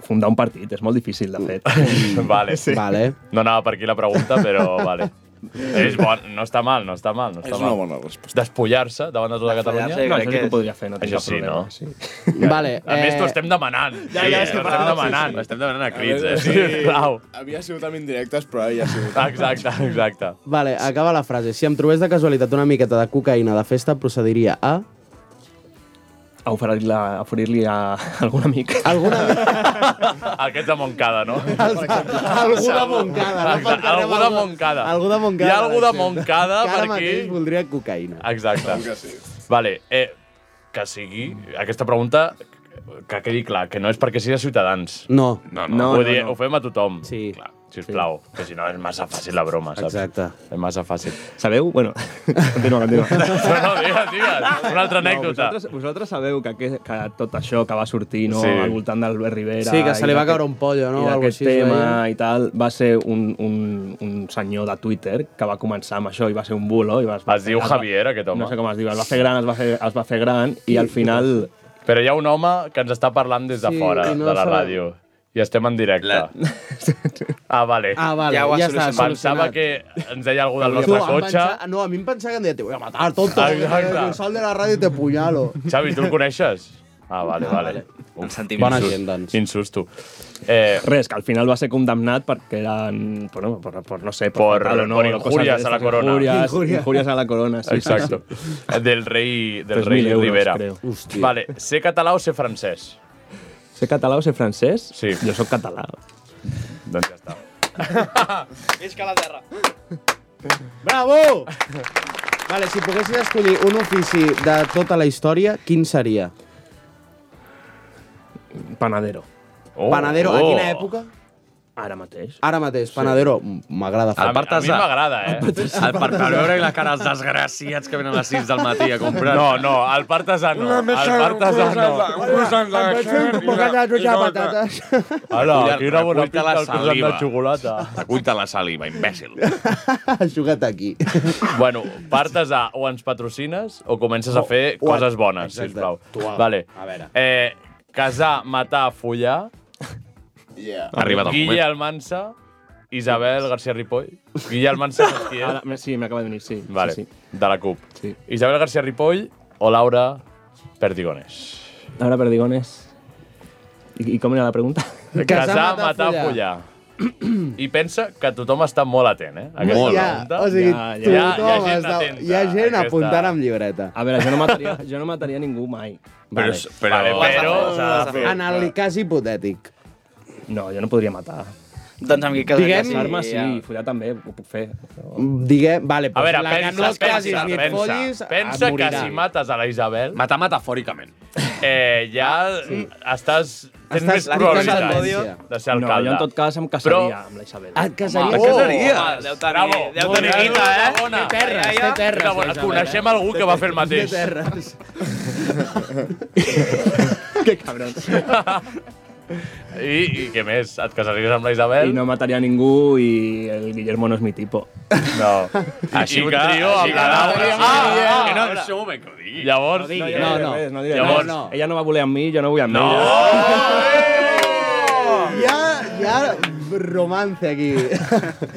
[SPEAKER 9] fundar un partit és molt difícil, de fet.
[SPEAKER 3] vale. Sí.
[SPEAKER 8] vale.
[SPEAKER 3] No anava per aquí la pregunta, però vale. És bon, no està mal, no està mal. No està
[SPEAKER 13] És
[SPEAKER 3] mal.
[SPEAKER 13] una bona resposta.
[SPEAKER 3] Despullar-se davant de tota Catalunya?
[SPEAKER 9] No, això sí que ho podria fer, no tinc
[SPEAKER 3] Això
[SPEAKER 9] cap
[SPEAKER 3] sí,
[SPEAKER 9] problema.
[SPEAKER 3] no?
[SPEAKER 9] Sí.
[SPEAKER 8] Vale,
[SPEAKER 3] A més,
[SPEAKER 13] eh,
[SPEAKER 3] t'ho estem demanant.
[SPEAKER 13] Ja, ja, és que
[SPEAKER 3] t'ho
[SPEAKER 13] fa-
[SPEAKER 3] estem
[SPEAKER 13] sí,
[SPEAKER 3] demanant.
[SPEAKER 13] sí.
[SPEAKER 3] Ho estem demanant a crits,
[SPEAKER 13] veure,
[SPEAKER 3] eh?
[SPEAKER 13] sí.
[SPEAKER 3] Sisplau.
[SPEAKER 13] Havia sigut amb indirectes, però ara ja ha sigut.
[SPEAKER 3] Exacte, exacte.
[SPEAKER 8] Vale, acaba la frase. Si em trobés de casualitat una miqueta de cocaïna de festa, procediria a...
[SPEAKER 9] A oferir-li a, a, oferir a algun amic.
[SPEAKER 8] Algun amic?
[SPEAKER 3] Aquests de Montcada, no?
[SPEAKER 8] Algú de Montcada. No?
[SPEAKER 3] Exacte, algú de Montcada.
[SPEAKER 8] Algú de Montcada.
[SPEAKER 3] Hi ha algú de
[SPEAKER 8] sí.
[SPEAKER 3] Montcada
[SPEAKER 8] que
[SPEAKER 3] per aquí?
[SPEAKER 8] ara
[SPEAKER 3] Ah.
[SPEAKER 8] mateix voldria cocaïna.
[SPEAKER 3] Exacte.
[SPEAKER 8] Segur que
[SPEAKER 3] Vale, eh, que sigui... Aquesta pregunta que quedi clar, que no és perquè sigui de Ciutadans.
[SPEAKER 8] No.
[SPEAKER 3] No, no,
[SPEAKER 8] No,
[SPEAKER 3] ho,
[SPEAKER 8] no,
[SPEAKER 3] di-
[SPEAKER 8] no.
[SPEAKER 3] ho fem a tothom.
[SPEAKER 8] Sí.
[SPEAKER 3] Clar, sisplau, sí. que si no és massa fàcil la broma, saps?
[SPEAKER 8] Exacte.
[SPEAKER 3] És massa fàcil.
[SPEAKER 9] Sabeu? Bueno, continua, continua.
[SPEAKER 3] No, no, digues, digues. Una altra anècdota.
[SPEAKER 9] No, vosaltres, vosaltres sabeu que, aquest, que tot això que va sortir no,
[SPEAKER 3] Sí.
[SPEAKER 9] sí. al voltant d'Albert Rivera...
[SPEAKER 8] Sí, que se
[SPEAKER 9] i
[SPEAKER 8] li va
[SPEAKER 9] d'aquest-
[SPEAKER 8] caure un pollo, no?
[SPEAKER 9] I
[SPEAKER 8] O algo
[SPEAKER 9] d'aquest
[SPEAKER 8] així, es
[SPEAKER 9] tema
[SPEAKER 8] deia.
[SPEAKER 9] i tal, va ser un, un, un senyor de Twitter que va començar amb això i va ser un bulo. I va,
[SPEAKER 3] Es diu Javier, aquest home.
[SPEAKER 9] No sé com es diu, es va fer gran, es va fer, es va fer gran i al final...
[SPEAKER 3] Però hi ha un home que ens està parlant des de
[SPEAKER 9] Sí,
[SPEAKER 3] fora,
[SPEAKER 9] i no
[SPEAKER 3] de la
[SPEAKER 9] sabem.
[SPEAKER 3] ràdio. I estem en directe. Ah, vale.
[SPEAKER 8] Ah, vale, Ja ho ha ja està, solucionat.
[SPEAKER 3] Pensava
[SPEAKER 8] solucionat.
[SPEAKER 3] que ens deia algú del
[SPEAKER 8] Tu,
[SPEAKER 3] nostre
[SPEAKER 8] em
[SPEAKER 3] cotxe.
[SPEAKER 8] pensava- no, a mi em pensava que em deia, te voy a matar, tonto.
[SPEAKER 3] Exacte.
[SPEAKER 8] El sol de la ràdio te punyalo.
[SPEAKER 3] Xavi, tu el coneixes? Ah, vale, vale. Un
[SPEAKER 8] sentim Bona insult. gent,
[SPEAKER 3] doncs. Insusto. Eh,
[SPEAKER 9] Res, que al final va ser condemnat perquè eren... Bueno, per, per, no sé,
[SPEAKER 3] Por-
[SPEAKER 9] fatal o
[SPEAKER 3] por
[SPEAKER 9] o cosas
[SPEAKER 3] injurias
[SPEAKER 9] de
[SPEAKER 3] a la
[SPEAKER 9] estas,
[SPEAKER 3] corona.
[SPEAKER 9] Injurias,
[SPEAKER 3] Injurias.
[SPEAKER 9] injurias a la corona, sí.
[SPEAKER 3] Exacto.
[SPEAKER 9] Sí, sí.
[SPEAKER 3] Del rei, del
[SPEAKER 9] 3.000
[SPEAKER 3] rei
[SPEAKER 9] euros,
[SPEAKER 3] Rivera.
[SPEAKER 9] creo. Hòstia.
[SPEAKER 3] Vale, ser català o ser francès?
[SPEAKER 9] Ser català o ser francès? Sí. Jo sóc català.
[SPEAKER 3] Doncs ja està.
[SPEAKER 12] Visca la terra.
[SPEAKER 8] Bravo! Vale, si poguessis escollir un ofici de tota la història, quin seria?
[SPEAKER 9] Panadero.
[SPEAKER 3] Oh,
[SPEAKER 8] Panadero, a quina època?
[SPEAKER 9] Ara mateix.
[SPEAKER 8] Ara mateix, panadero, m'agrada fer.
[SPEAKER 10] El Partesà.
[SPEAKER 3] eh.
[SPEAKER 10] El part per veure
[SPEAKER 3] i
[SPEAKER 10] les cares desgraciats que venen a les 6 del matí a comprar.
[SPEAKER 3] No, no, el Partesà no. El Partesà no. Hola, quina bona pinta el croissant de xocolata.
[SPEAKER 10] T'acuita la saliva, imbècil.
[SPEAKER 8] Ha jugat aquí.
[SPEAKER 3] Bueno, Partesà, o ens patrocines o comences a fer
[SPEAKER 8] o-
[SPEAKER 3] coses bones,
[SPEAKER 8] Exacte.
[SPEAKER 3] sisplau.
[SPEAKER 8] Tu, a-
[SPEAKER 3] Vale.
[SPEAKER 8] a veure.
[SPEAKER 3] Eh, casar, matar, follar.
[SPEAKER 13] Yeah.
[SPEAKER 10] Ha arribat el moment.
[SPEAKER 3] Guille Almansa, Isabel García Ripoll. Guille Almansa, saps qui és?
[SPEAKER 9] Ara, me- sí, m'acaba de venir, sí.
[SPEAKER 3] Vale,
[SPEAKER 9] Sí,
[SPEAKER 3] de la CUP. Isabel García Ripoll o Laura Perdigones.
[SPEAKER 9] sí. Ara perdigones. I, I com era la pregunta?
[SPEAKER 3] Casar, matar, follar. I pensa que tothom està molt atent, eh? a Aquesta
[SPEAKER 9] Molt.
[SPEAKER 3] pregunta.
[SPEAKER 8] O sigui,
[SPEAKER 9] Ja, ja.
[SPEAKER 8] tu,
[SPEAKER 9] Hi ha-
[SPEAKER 8] tu,
[SPEAKER 9] hi ha
[SPEAKER 8] home,
[SPEAKER 9] gent
[SPEAKER 8] està-
[SPEAKER 9] atenta,
[SPEAKER 8] hi ha gent
[SPEAKER 9] aquesta.
[SPEAKER 8] apuntant amb llibreta.
[SPEAKER 9] A veure, jo no mataria, jo no mataria ningú mai.
[SPEAKER 10] Però, però,
[SPEAKER 8] En el cas hipotètic.
[SPEAKER 9] No, jo no podria matar.
[SPEAKER 12] Doncs amb qui
[SPEAKER 8] quedaria?
[SPEAKER 9] Diguem...
[SPEAKER 8] Sí,
[SPEAKER 9] Arma, sí,
[SPEAKER 8] ja.
[SPEAKER 9] follar també, ho puc fer.
[SPEAKER 8] Diguem, vale,
[SPEAKER 3] A
[SPEAKER 8] pues
[SPEAKER 3] veure,
[SPEAKER 8] la que
[SPEAKER 3] pensa,
[SPEAKER 8] no et
[SPEAKER 3] pensa,
[SPEAKER 8] casis ni et
[SPEAKER 3] pensa,
[SPEAKER 8] follis,
[SPEAKER 3] pensa
[SPEAKER 8] et
[SPEAKER 3] que
[SPEAKER 8] morirà.
[SPEAKER 3] si mates a la Isabel...
[SPEAKER 10] Matar metafòricament.
[SPEAKER 3] eh, ja estàs... Tens
[SPEAKER 9] Ah, Estàs-
[SPEAKER 3] més
[SPEAKER 9] la distancia.
[SPEAKER 3] probabilitats de ser
[SPEAKER 9] No,
[SPEAKER 3] alcalde.
[SPEAKER 9] jo en tot cas em casaria amb la Isabel. Et casaries?
[SPEAKER 8] Oh,
[SPEAKER 3] Home,
[SPEAKER 9] Et casaries?
[SPEAKER 3] home, Déu tenir,
[SPEAKER 9] Bravo.
[SPEAKER 3] Déu
[SPEAKER 9] Molt
[SPEAKER 3] tenir
[SPEAKER 9] bé.
[SPEAKER 3] guita, eh?
[SPEAKER 9] Té terres,
[SPEAKER 3] Ai, ai,
[SPEAKER 9] té
[SPEAKER 3] ai.
[SPEAKER 9] terres,
[SPEAKER 3] Una bona-
[SPEAKER 9] la Isabel,
[SPEAKER 3] Coneixem
[SPEAKER 9] eh?
[SPEAKER 3] algú que va fer el mateix.
[SPEAKER 9] Té terres.
[SPEAKER 3] que cabron. I, I què més? Et casaries amb la Isabel?
[SPEAKER 9] I no mataria ningú i el Guillermo no és mi tipo.
[SPEAKER 3] No. Així un trio amb la Laura. Ah, que no, això un moment que ho digui. Llavors,
[SPEAKER 9] No,
[SPEAKER 3] digui,
[SPEAKER 9] no,
[SPEAKER 3] eh?
[SPEAKER 9] no, no, diré
[SPEAKER 3] Llavors-
[SPEAKER 9] res. Ella no va voler amb mi, jo no vull amb
[SPEAKER 3] No.
[SPEAKER 9] ella.
[SPEAKER 8] Hi ha, hi ha romance aquí.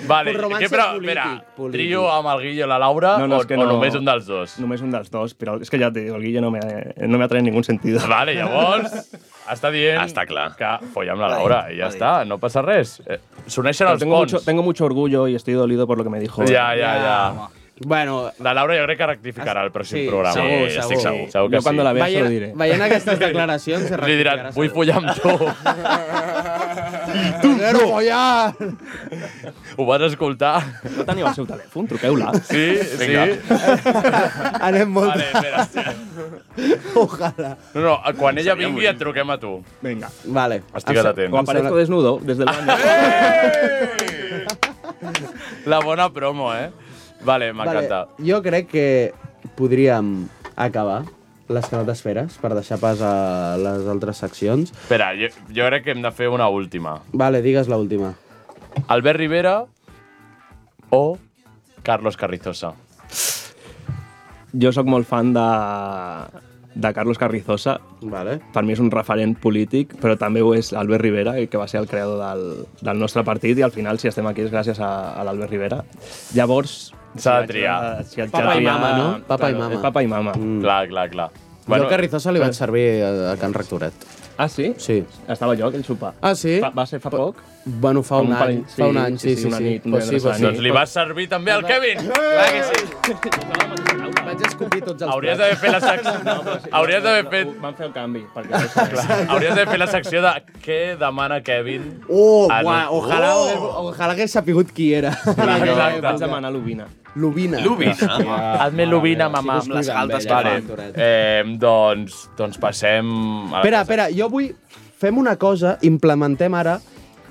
[SPEAKER 3] Vale,
[SPEAKER 8] Un romance
[SPEAKER 3] què, però,
[SPEAKER 8] polític,
[SPEAKER 3] mira,
[SPEAKER 8] polític.
[SPEAKER 3] trio amb el Guillo i la Laura
[SPEAKER 9] No, no,
[SPEAKER 3] o,
[SPEAKER 9] és que
[SPEAKER 3] o
[SPEAKER 9] no.
[SPEAKER 3] només un dels dos?
[SPEAKER 9] Només un dels dos, però és que ja et dic, el Guille no m'ha- no m'ha traït ningú sentit.
[SPEAKER 3] Vale, llavors, està dient està clar. que folla amb la Laura i ja està, no passa res. Eh, S'uneixen
[SPEAKER 9] Pero
[SPEAKER 3] els eh,
[SPEAKER 9] tengo,
[SPEAKER 3] ponts.
[SPEAKER 9] mucho, tengo mucho orgullo y estoy dolido por lo que me dijo.
[SPEAKER 3] Ja, ja, ja.
[SPEAKER 8] Bueno,
[SPEAKER 3] la Laura jo crec que rectificarà el pròxim
[SPEAKER 9] sí,
[SPEAKER 3] programa.
[SPEAKER 9] segur, Sí, estic segur. segur.
[SPEAKER 3] segur que
[SPEAKER 9] Jo quan
[SPEAKER 3] sí.
[SPEAKER 9] la vea se lo diré.
[SPEAKER 8] Veient aquestes declaracions... se
[SPEAKER 3] Li diran, vull follar amb tu.
[SPEAKER 8] Tu, no! follar!
[SPEAKER 3] Ho vas escoltar?
[SPEAKER 9] No teniu el seu telèfon, truqueu-la.
[SPEAKER 3] Sí,
[SPEAKER 9] Vinga.
[SPEAKER 3] sí.
[SPEAKER 8] Anem molt...
[SPEAKER 3] Vale, espera, espera.
[SPEAKER 8] Ojalà.
[SPEAKER 3] No, no, quan ella vingui et truquem a tu.
[SPEAKER 9] Vinga.
[SPEAKER 8] Vale.
[SPEAKER 3] Estic atent.
[SPEAKER 9] O aparezco desnudo desde el baño.
[SPEAKER 3] La bona promo, eh? Vale, m'encanta.
[SPEAKER 8] Vale, jo crec que podríem acabar les que no t'esperes per deixar pas a les altres seccions.
[SPEAKER 3] Espera, jo, jo crec que hem de fer una última.
[SPEAKER 8] Vale, digues l'última.
[SPEAKER 3] Albert Rivera o Carlos Carrizosa.
[SPEAKER 9] Jo sóc molt fan de, de Carlos Carrizosa.
[SPEAKER 8] Vale.
[SPEAKER 9] Per mi és un referent polític, però també ho és Albert Rivera, que va ser el creador del, del nostre partit, i al final, si estem aquí, és gràcies a, a l'Albert Rivera. Llavors...
[SPEAKER 3] S'ha de
[SPEAKER 9] si haig
[SPEAKER 3] triar.
[SPEAKER 9] Si haig de
[SPEAKER 8] Papa i
[SPEAKER 9] triar-
[SPEAKER 8] mama, no? Papa i
[SPEAKER 9] Claro,
[SPEAKER 8] mama.
[SPEAKER 9] és Papa i mama.
[SPEAKER 8] Mm.
[SPEAKER 3] Clar, clar, clar.
[SPEAKER 8] Bueno, jo a Carrizosa li vaig servir a, a Can Rectoret.
[SPEAKER 9] Ah, sí?
[SPEAKER 8] Sí.
[SPEAKER 9] Estava jo aquell sopar.
[SPEAKER 8] Ah, sí?
[SPEAKER 9] Fa, va ser fa poc?
[SPEAKER 8] Bueno, fa un, any. fa un any, sí, sí, sí.
[SPEAKER 9] una nit, un
[SPEAKER 8] Pues sí,
[SPEAKER 9] divendres a la
[SPEAKER 8] pues sí.
[SPEAKER 9] nit.
[SPEAKER 3] Doncs li va servir també al Kevin. Clar que sí.
[SPEAKER 8] Vaig escopir tots els
[SPEAKER 3] Hauries d'haver fet la secció... Hauries d'haver fet...
[SPEAKER 9] Van fer el canvi, perquè...
[SPEAKER 3] Hauries d'haver fet la secció de què demana Kevin.
[SPEAKER 8] Oh,
[SPEAKER 3] Ah, no.
[SPEAKER 8] buah, ojalà,
[SPEAKER 3] Oh!
[SPEAKER 8] oh! ojalà hagués sapigut qui era.
[SPEAKER 3] Exacte. Ah.
[SPEAKER 9] Vaig demanar l'Ubina.
[SPEAKER 8] L'Ubina.
[SPEAKER 3] Hazme l'Ubina, mamà.
[SPEAKER 8] Ah. sí, Amb les galtes que
[SPEAKER 3] vale.
[SPEAKER 8] fan.
[SPEAKER 3] Eh, doncs, doncs passem... A la
[SPEAKER 8] Espera, espera, jo vull... Fem una cosa, implementem ara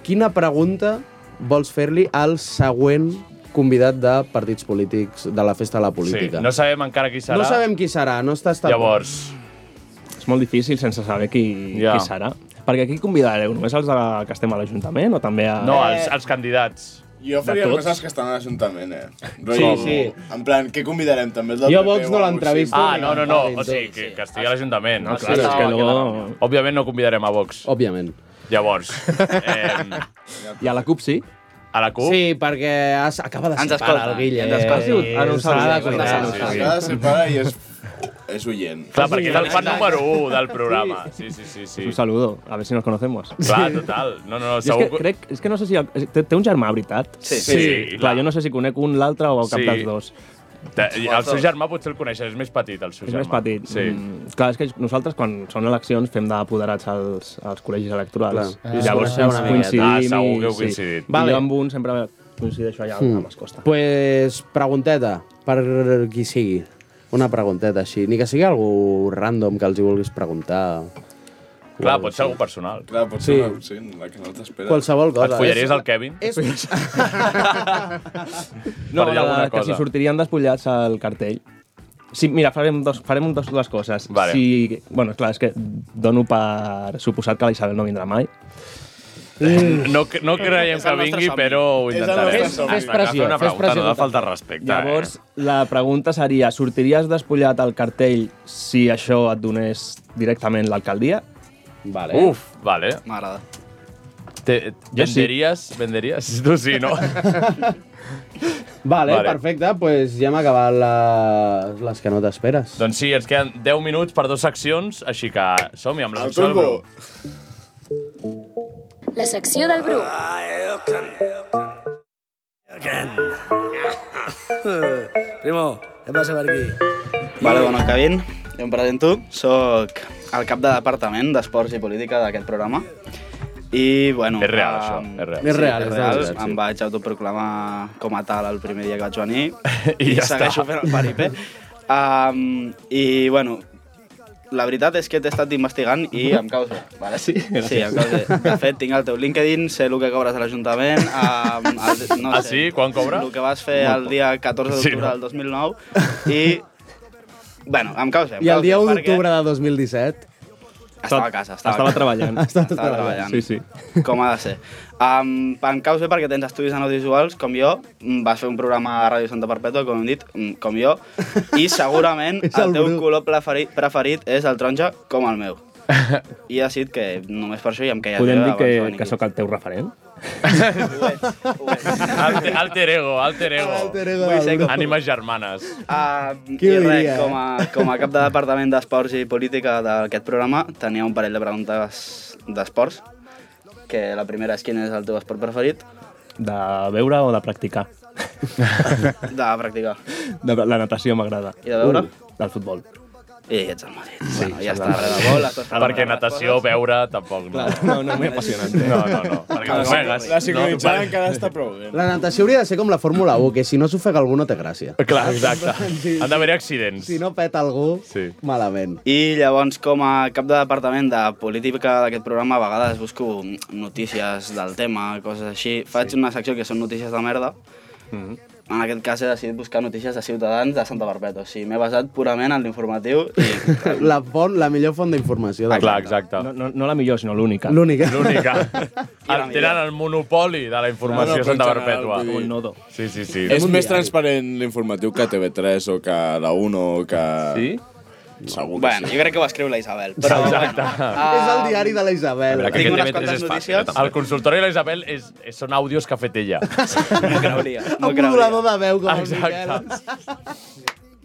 [SPEAKER 8] quina pregunta vols fer-li al següent convidat de partits polítics de la Festa de la Política.
[SPEAKER 3] Sí, no sabem encara qui serà.
[SPEAKER 8] No sabem qui serà, no està estat...
[SPEAKER 3] Llavors,
[SPEAKER 9] És molt difícil sense saber qui,
[SPEAKER 3] Ja.
[SPEAKER 9] qui serà. Perquè aquí convidareu només els de, que estem a l'Ajuntament o també a...
[SPEAKER 3] No, els, els candidats.
[SPEAKER 13] Jo faria
[SPEAKER 9] De tots?
[SPEAKER 13] més els que estan a l'Ajuntament, eh?
[SPEAKER 3] Sí, sí.
[SPEAKER 13] En plan, què convidarem? També els del
[SPEAKER 8] Jo
[SPEAKER 13] PP
[SPEAKER 8] Vox
[SPEAKER 13] o
[SPEAKER 8] no
[SPEAKER 13] alguna
[SPEAKER 8] l'entrevisto
[SPEAKER 13] cosa
[SPEAKER 3] Ah,
[SPEAKER 13] així?
[SPEAKER 3] no, no, no. O sigui, que, que estigui a l'Ajuntament.
[SPEAKER 9] No, Oh. clar, és que no...
[SPEAKER 3] Òbviament no convidarem a Vox.
[SPEAKER 8] Òbviament.
[SPEAKER 3] Llavors, eh,
[SPEAKER 9] I a la CUP sí?
[SPEAKER 3] a la CUP...
[SPEAKER 8] Sí, perquè has, acaba de
[SPEAKER 12] Ens
[SPEAKER 8] ser pare,
[SPEAKER 12] escolta,
[SPEAKER 8] el Guille.
[SPEAKER 9] ens escolta. Ah, no ho
[SPEAKER 8] s'ha
[SPEAKER 9] sabia,
[SPEAKER 8] de cuidar,
[SPEAKER 9] ens
[SPEAKER 8] s'ha de
[SPEAKER 9] escolta.
[SPEAKER 8] cuidar.
[SPEAKER 13] Cada separa eh, i és, és oient.
[SPEAKER 3] Clar, perquè és el fan número 1 del programa. Sí, sí, sí. sí.
[SPEAKER 9] Un saludo, a ver si nos conocemos.
[SPEAKER 3] Clar, total. No, no, no,
[SPEAKER 9] Jo és
[SPEAKER 3] segur...
[SPEAKER 9] que, crec, és que no sé si... el- Té, té un germà, veritat?
[SPEAKER 3] Sí. Sí, sí,
[SPEAKER 9] clar,
[SPEAKER 3] clar.
[SPEAKER 9] jo no sé si conec un, l'altre o cap
[SPEAKER 3] Sí.
[SPEAKER 9] dels dos.
[SPEAKER 3] Te- El seu germà potser el coneixes, és més petit, el seu
[SPEAKER 9] És
[SPEAKER 3] germà.
[SPEAKER 9] més petit.
[SPEAKER 3] Sí.
[SPEAKER 9] Mm, clar, és que nosaltres, quan són eleccions, fem d'apoderats als, als col·legis electorals.
[SPEAKER 8] Clar.
[SPEAKER 9] I
[SPEAKER 8] Ah,
[SPEAKER 9] llavors
[SPEAKER 8] sí, una
[SPEAKER 9] coincidim.
[SPEAKER 3] miqueta. Ah, segur
[SPEAKER 9] i-
[SPEAKER 3] que heu
[SPEAKER 9] sí.
[SPEAKER 3] coincidit.
[SPEAKER 9] I
[SPEAKER 8] Vale.
[SPEAKER 9] jo amb un sempre coincideixo allà
[SPEAKER 8] Mm.
[SPEAKER 9] amb les costes.
[SPEAKER 8] Pues pregunteta, per qui sigui. Una pregunteta així, ni que sigui algú random que els hi vulguis preguntar.
[SPEAKER 3] Clar, pot ser algú personal.
[SPEAKER 13] Clar, pot ser una, sí, la que no t'espera.
[SPEAKER 8] Qualsevol cosa. eh?
[SPEAKER 3] Et follaries
[SPEAKER 8] És-
[SPEAKER 3] el
[SPEAKER 12] Eh,
[SPEAKER 3] Kevin?
[SPEAKER 8] És...
[SPEAKER 9] No,
[SPEAKER 3] per dir alguna
[SPEAKER 9] la- que
[SPEAKER 3] cosa.
[SPEAKER 9] si sortirien despullats al cartell. Sí, mira, farem, dos, farem dos, dues coses.
[SPEAKER 3] Vale.
[SPEAKER 9] Si, bueno, clar, és que dono per suposat que la Isabel no vindrà mai.
[SPEAKER 3] No, cre- no creiem
[SPEAKER 12] És
[SPEAKER 3] que
[SPEAKER 12] el nostre
[SPEAKER 3] vingui,
[SPEAKER 12] somni.
[SPEAKER 3] però ho
[SPEAKER 12] És el
[SPEAKER 3] intentarem.
[SPEAKER 12] nostre somni. Fes
[SPEAKER 8] pressió,
[SPEAKER 3] Una
[SPEAKER 8] fes
[SPEAKER 3] pregunta,
[SPEAKER 8] pressió
[SPEAKER 3] no de
[SPEAKER 8] total.
[SPEAKER 3] falta de respecte. eh?
[SPEAKER 9] Llavors, la pregunta seria, sortiries despullat al cartell si això et donés directament l'alcaldia?
[SPEAKER 8] Vale.
[SPEAKER 3] eh? Uf, vale.
[SPEAKER 12] M'agrada.
[SPEAKER 3] Te,
[SPEAKER 9] sí.
[SPEAKER 3] venderies, venderies? Tu sí, no?
[SPEAKER 8] Vale,
[SPEAKER 3] Vale.
[SPEAKER 8] vale, perfecte, pues ja hem acabat la... les que no t'esperes.
[SPEAKER 3] doncs sí, ens queden 10 minuts per dues seccions, així que som-hi amb la
[SPEAKER 13] El
[SPEAKER 3] secció del
[SPEAKER 13] turbo.
[SPEAKER 3] Bru.
[SPEAKER 6] La secció del Bru.
[SPEAKER 14] Primo, què passa per aquí?
[SPEAKER 12] Vale, bueno, Kevin, jo em presento. Soc el cap de departament d'Esports i Política d'aquest programa. I, bueno...
[SPEAKER 3] És real,
[SPEAKER 12] em-
[SPEAKER 3] això, és real.
[SPEAKER 12] Sí,
[SPEAKER 3] És real,
[SPEAKER 12] és
[SPEAKER 3] és
[SPEAKER 12] real.
[SPEAKER 3] real, sí.
[SPEAKER 12] Em vaig autoproclamar com a tal el primer dia que vaig venir.
[SPEAKER 3] I ja
[SPEAKER 12] segueixo
[SPEAKER 3] està.
[SPEAKER 12] fent el paripé. Um, I, bueno,
[SPEAKER 13] la veritat és que t'he estat investigant i em causa Vale, sí, Sí, em causa bé. De fet, tinc el teu LinkedIn, sé el que cobres a l'Ajuntament, um, el, no
[SPEAKER 3] Ah,
[SPEAKER 13] sé,
[SPEAKER 3] sí? Quan cobra?
[SPEAKER 13] El que vas fer
[SPEAKER 3] Molt
[SPEAKER 13] el
[SPEAKER 3] poc.
[SPEAKER 13] dia 14
[SPEAKER 3] Sí,
[SPEAKER 13] d'octubre
[SPEAKER 3] no?
[SPEAKER 13] del 2009 i... Bueno, em causa bé. em
[SPEAKER 8] I el
[SPEAKER 13] causa
[SPEAKER 8] dia
[SPEAKER 13] bé,
[SPEAKER 8] 1
[SPEAKER 13] perquè
[SPEAKER 8] d'octubre de 2017...
[SPEAKER 13] Estava a casa, estava, a
[SPEAKER 8] estava
[SPEAKER 13] casa.
[SPEAKER 8] treballant. Estava treballant.
[SPEAKER 13] Sí, sí. Com ha de ser. Um, em causa bé perquè tens estudis en audiovisuals, com jo, mm, vas fer un programa a Ràdio Santa Perpètua, com hem dit, mm, com jo, i segurament el,
[SPEAKER 15] És el
[SPEAKER 13] teu
[SPEAKER 15] Bru.
[SPEAKER 13] color preferit, preferit és el taronja com el meu. I he decidit que només per això ja em caia
[SPEAKER 9] Podem
[SPEAKER 13] bé
[SPEAKER 9] dir que,
[SPEAKER 13] abans de venir
[SPEAKER 9] que sóc el teu referent?
[SPEAKER 3] Alter, alter ego, alter ego.
[SPEAKER 12] Oh,
[SPEAKER 3] Alter
[SPEAKER 13] ego Vull ser del com- Bru.
[SPEAKER 3] Ànimes germanes.
[SPEAKER 13] Ah,
[SPEAKER 3] Qui
[SPEAKER 13] I
[SPEAKER 3] ho
[SPEAKER 13] res,
[SPEAKER 3] diria, eh?
[SPEAKER 13] com a, com a cap de departament d'esports i política d'aquest programa, tenia un parell de preguntes d'esports, que la primera és quin és el teu esport preferit,
[SPEAKER 9] De veure o de practicar?
[SPEAKER 13] de practicar.
[SPEAKER 9] De, la natació m'agrada.
[SPEAKER 13] I de veure?
[SPEAKER 9] Uh, del futbol.
[SPEAKER 13] I ets el Madrid.
[SPEAKER 9] Sí,
[SPEAKER 13] bueno, ja
[SPEAKER 9] sóc
[SPEAKER 13] està,
[SPEAKER 9] del
[SPEAKER 13] res de
[SPEAKER 9] Madrid.
[SPEAKER 13] vol, estàs fent
[SPEAKER 3] Perquè
[SPEAKER 13] res de
[SPEAKER 3] natació, veure, tampoc no.
[SPEAKER 9] No, no, no apassionant.
[SPEAKER 3] Ah.
[SPEAKER 9] eh?
[SPEAKER 3] No, no, no. Perquè
[SPEAKER 16] La-
[SPEAKER 3] ofegues.
[SPEAKER 16] La sincronitzada
[SPEAKER 3] No,
[SPEAKER 16] encara està prou bé.
[SPEAKER 8] La natació hauria de ser com la Fórmula 1, que si no s'ofega algú no té gràcia.
[SPEAKER 3] Clar, exacte. Han d'haver-hi accidents.
[SPEAKER 8] Si no peta algú, sí. malament.
[SPEAKER 13] I llavors, com a cap de departament de política d'aquest programa, a vegades busco notícies del tema, coses així. Faig sí. una secció que són notícies de merda.
[SPEAKER 9] Mm.
[SPEAKER 13] En aquest cas he decidit buscar notícies de Ciutadans de Santa Perpètua. O sigui, m'he basat purament en l'informatiu i
[SPEAKER 8] La, font, la millor font d'informació. del món.
[SPEAKER 3] Ah, exacte.
[SPEAKER 9] No, no, no la millor, sinó l'única.
[SPEAKER 8] L'única.
[SPEAKER 3] L'única. El, tenen el monopoli de la
[SPEAKER 16] No,
[SPEAKER 3] informació
[SPEAKER 16] no, però en
[SPEAKER 3] Santa
[SPEAKER 16] general,
[SPEAKER 3] Perpètua.
[SPEAKER 16] vull dir- Un
[SPEAKER 9] nodo.
[SPEAKER 3] Sí, sí, sí.
[SPEAKER 16] És més transparent l'informatiu que TV3 o que la 1 o que... Sí? Segur que
[SPEAKER 13] Bueno,
[SPEAKER 16] sí.
[SPEAKER 13] jo crec que ho escriu la Isabel. Però, Ah,
[SPEAKER 16] Exacte.
[SPEAKER 13] Bueno,
[SPEAKER 8] És el diari de la Isabel.
[SPEAKER 13] Tinc unes quantes notícies.
[SPEAKER 3] El consultori de la Isabel és, és, són àudios que ha fet ella.
[SPEAKER 8] Un modulador de veu com el Miquel.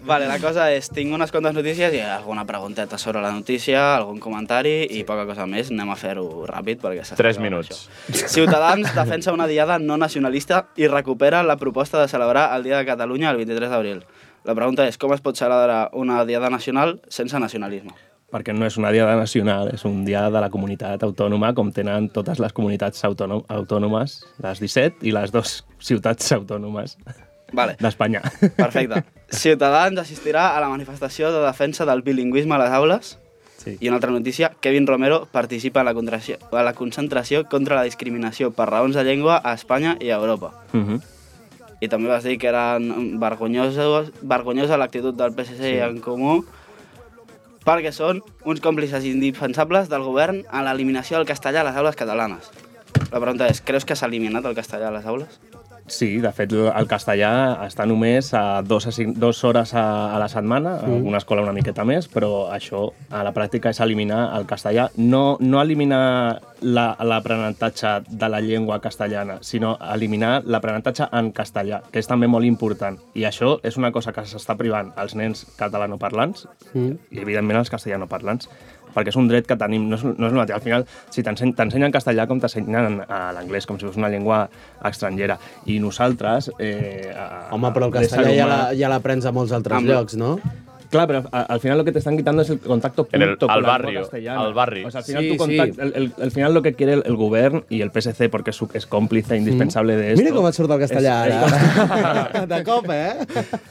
[SPEAKER 13] Vale, la cosa és, tinc unes quantes notícies i alguna pregunteta sobre la notícia, algun comentari sí. i poca cosa més. Anem a fer-ho ràpid perquè s'ha
[SPEAKER 3] Tres
[SPEAKER 13] fet
[SPEAKER 3] minuts.
[SPEAKER 13] això. Ciutadans defensa una diada no nacionalista i recupera la proposta de celebrar el Dia de Catalunya el 23 d'abril. La pregunta és com es pot celebrar una diada nacional sense nacionalisme?
[SPEAKER 9] Perquè no és una diada nacional, és un dia de la comunitat autònoma, com tenen totes les comunitats autònom autònomes, les 17 i les dues ciutats autònomes
[SPEAKER 13] Vale,
[SPEAKER 9] d'Espanya.
[SPEAKER 13] perfecte. Ciutadans assistirà a la manifestació de defensa del bilingüisme a les aules.
[SPEAKER 9] Sí.
[SPEAKER 13] I una altra notícia, Kevin Romero participa en la, contració- a la concentració contra la discriminació per raons de llengua a Espanya i a Europa.
[SPEAKER 9] Mm -hmm.
[SPEAKER 13] I també vas dir que eren vergonyosos, vergonyosa l'actitud del PSC sí. en comú perquè són uns còmplices indispensables del govern en l'eliminació del castellà a les aules catalanes. La pregunta és, creus que s'ha eliminat el castellà a les aules?
[SPEAKER 9] Sí, de fet, el castellà està només a dos, a cinc, dos hores a, a la setmana, a
[SPEAKER 13] Mm.
[SPEAKER 9] alguna escola una miqueta més, però això a la pràctica és eliminar el castellà. No, no eliminar la- l'aprenentatge de la llengua castellana, sinó eliminar l'aprenentatge en castellà, que és també molt important. I això és una cosa que s'està privant als nens catalanoparlants i evidentment els castellanoparlants perquè és un dret que tenim, no és, no és el mateix. Al final, si t'ensen- t'ensenyen castellà com t'ensenyen eh, a l'anglès, com si fos una llengua estrangera. I nosaltres... Eh, a,
[SPEAKER 8] Home, però el
[SPEAKER 9] l'ésser
[SPEAKER 8] castellà ja
[SPEAKER 9] humà-
[SPEAKER 8] la- ja l'aprens a molts altres
[SPEAKER 9] Amb-
[SPEAKER 8] llocs, no?
[SPEAKER 9] Clar, pero a- al final lo que te están quitando es el contacto
[SPEAKER 3] En el-
[SPEAKER 9] punto
[SPEAKER 3] al
[SPEAKER 9] con la lengua
[SPEAKER 3] barrio,
[SPEAKER 9] castellana.
[SPEAKER 3] al barrio.
[SPEAKER 9] O sea, al final,
[SPEAKER 3] Sí,
[SPEAKER 9] tu
[SPEAKER 3] sí.
[SPEAKER 9] contacto- el, el- al final lo que quiere el, el gobierno y el PSC, porque es, su- es cómplice indispensable de esto.
[SPEAKER 8] Mira com et surt el castellà
[SPEAKER 9] és-
[SPEAKER 8] ara. De cop, eh?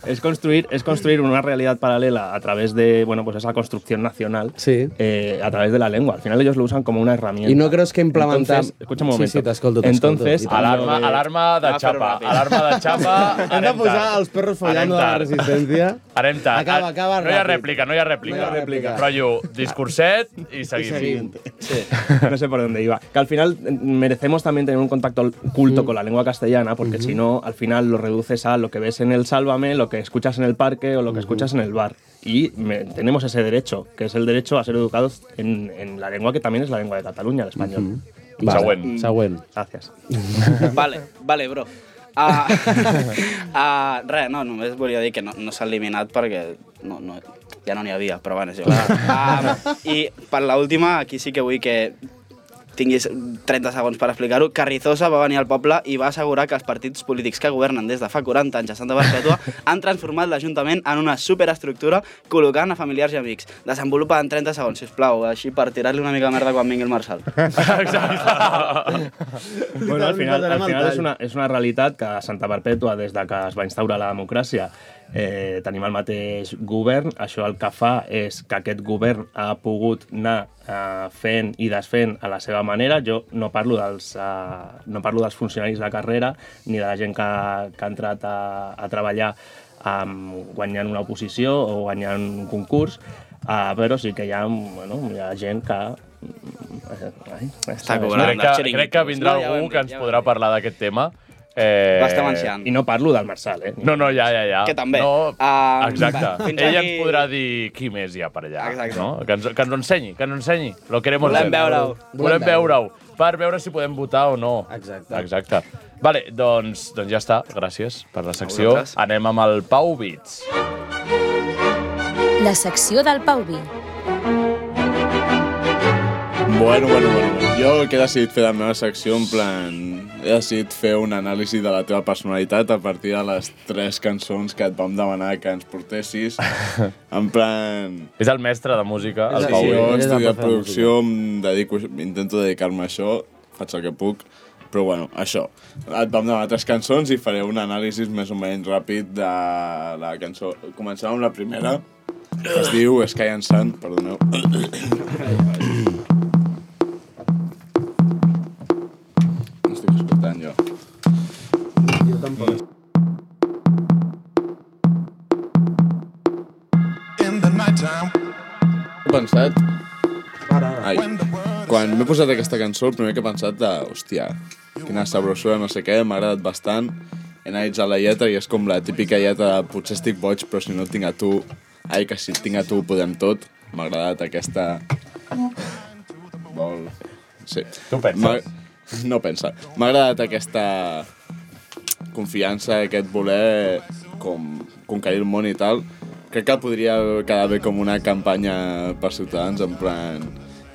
[SPEAKER 9] es construir, es construir una realidad paralela a través de bueno, pues esa construcción nacional eh, a través de la lengua. Al final ellos lo usan como una herramienta.
[SPEAKER 8] I no creus que implementar...
[SPEAKER 9] Entonces, escucha un momento.
[SPEAKER 8] Sí, sí, t'escolto, t'escolto.
[SPEAKER 9] Entonces,
[SPEAKER 8] I tant.
[SPEAKER 3] Alarma, alarma de xapa, alarma de xapa.
[SPEAKER 8] Hem de
[SPEAKER 3] anem
[SPEAKER 8] posar
[SPEAKER 3] tard.
[SPEAKER 8] els perros follando
[SPEAKER 3] Anem
[SPEAKER 8] de la
[SPEAKER 3] tard.
[SPEAKER 8] resistència.
[SPEAKER 3] Anem tard.
[SPEAKER 8] Acaba,
[SPEAKER 3] Ah,
[SPEAKER 8] acaba
[SPEAKER 3] No hi ha
[SPEAKER 8] ràpid.
[SPEAKER 3] rèplica, no hi ha rèplica.
[SPEAKER 8] No hi ha rèplica.
[SPEAKER 3] Rotllo, discurset i seguim.
[SPEAKER 9] seguim. no sé por dónde iba. Que al final eh, merecemos también tener un contacto culto
[SPEAKER 8] Mm.
[SPEAKER 9] con la lengua castellana, porque si no, al final lo reduces a lo que ves en el Sálvame, lo que escuchas en el parque o lo que escuchas en el bar. Y me- tenemos ese derecho, que es el derecho a ser educados en, en la lengua que también es la lengua de Cataluña, el español. Y-
[SPEAKER 8] Vale. Següent. Següent.
[SPEAKER 9] Gracias.
[SPEAKER 13] vale, vale, bro. Ah, ah, res, no, només volia dir que no, no s'ha eliminat perquè no, no, ja no n'hi havia, però bueno, és igual. Ah, I per l'última, aquí sí que vull que tinguis 30 segons per explicar-ho, Carrizosa va venir al poble i va assegurar que els partits polítics que governen des de fa 40 anys a Santa Perpètua han transformat l'Ajuntament en una superestructura col·locant a familiars i amics. Desenvolupa en 30 segons, si us plau, així per tirar-li una mica de merda quan vingui el Marçal.
[SPEAKER 9] bueno, al
[SPEAKER 13] Literalment
[SPEAKER 9] final,
[SPEAKER 13] passarem
[SPEAKER 9] al
[SPEAKER 13] al
[SPEAKER 9] final
[SPEAKER 13] tall.
[SPEAKER 9] és, una, és una realitat que a Santa Perpètua, des de que es va instaurar la democràcia, eh, tenim el mateix govern. Això el que fa és que aquest govern ha pogut anar eh, fent i desfent a la seva manera. Jo no parlo dels, eh, no parlo dels funcionaris de carrera ni de la gent que, que ha entrat a, a treballar um, guanyant una oposició o guanyant un concurs, uh, però sí que hi ha, bueno, hi ha gent que... eh, Ai,
[SPEAKER 3] Està cobrant. Crec que, crec que vindrà no, algú que ens podrà parlar d'aquest tema. Eh...
[SPEAKER 9] Bastant ancià. I no parlo del Marçal, eh?
[SPEAKER 3] No, no, ja, ja, ja.
[SPEAKER 9] Que també.
[SPEAKER 3] No,
[SPEAKER 9] Ah,
[SPEAKER 3] exacte.
[SPEAKER 9] va, fins
[SPEAKER 3] Ell
[SPEAKER 9] aquí.
[SPEAKER 3] ens podrà dir qui més hi ha per allà.
[SPEAKER 9] Exacte.
[SPEAKER 3] No? Que, ens, que ens ho ensenyi, que ens ho ensenyi. Lo queremos
[SPEAKER 9] Volem
[SPEAKER 3] ver.
[SPEAKER 9] veure-ho.
[SPEAKER 3] Volem
[SPEAKER 9] Volem
[SPEAKER 3] veure-ho. Per veure si podem votar o no. Exacte. Exacte. Vale, doncs, doncs ja està. Gràcies per la secció.
[SPEAKER 6] vosaltres.
[SPEAKER 3] Anem amb el Pau Bits.
[SPEAKER 6] La secció del Pau Vi.
[SPEAKER 13] Bueno, bueno, bueno. Jo el que he decidit fer de la meva secció, en plan... He decidit fer un anàlisi de la teva personalitat a partir de les tres cançons que et vam demanar que ens portessis. En plan...
[SPEAKER 3] És el mestre de música, el
[SPEAKER 13] sí,
[SPEAKER 3] Pau
[SPEAKER 13] sí,
[SPEAKER 3] Bits.
[SPEAKER 13] jo he
[SPEAKER 3] Ell és el profe
[SPEAKER 13] estudiat
[SPEAKER 3] de
[SPEAKER 13] producció, em dedico, intento dedicar-me a això, faig el que puc, però bueno, això. Et vam demanar tres cançons i faré un anàlisi més o menys ràpid de la cançó. Començarem amb la primera, que es diu Sky and Sun, perdoneu. No estic escoltant jo.
[SPEAKER 8] Jo tampoc.
[SPEAKER 13] He pensat... Ai. Quan m'he posat aquesta cançó, el primer que he pensat de, hòstia, quina sabrosura, no sé què, m'ha agradat bastant. He analitzat la lletra i és com la típica lletra de potser estic boig, però si no et tinc a tu... Ai, que si et tinc a tu ho podem tot. M'ha agradat aquesta... Vol... Sí.
[SPEAKER 3] Tu penses?
[SPEAKER 13] M'ha- No pensa. M'ha agradat aquesta confiança, aquest voler com conquerir el món i tal. Crec que podria quedar bé com una campanya per ciutadans, en plan...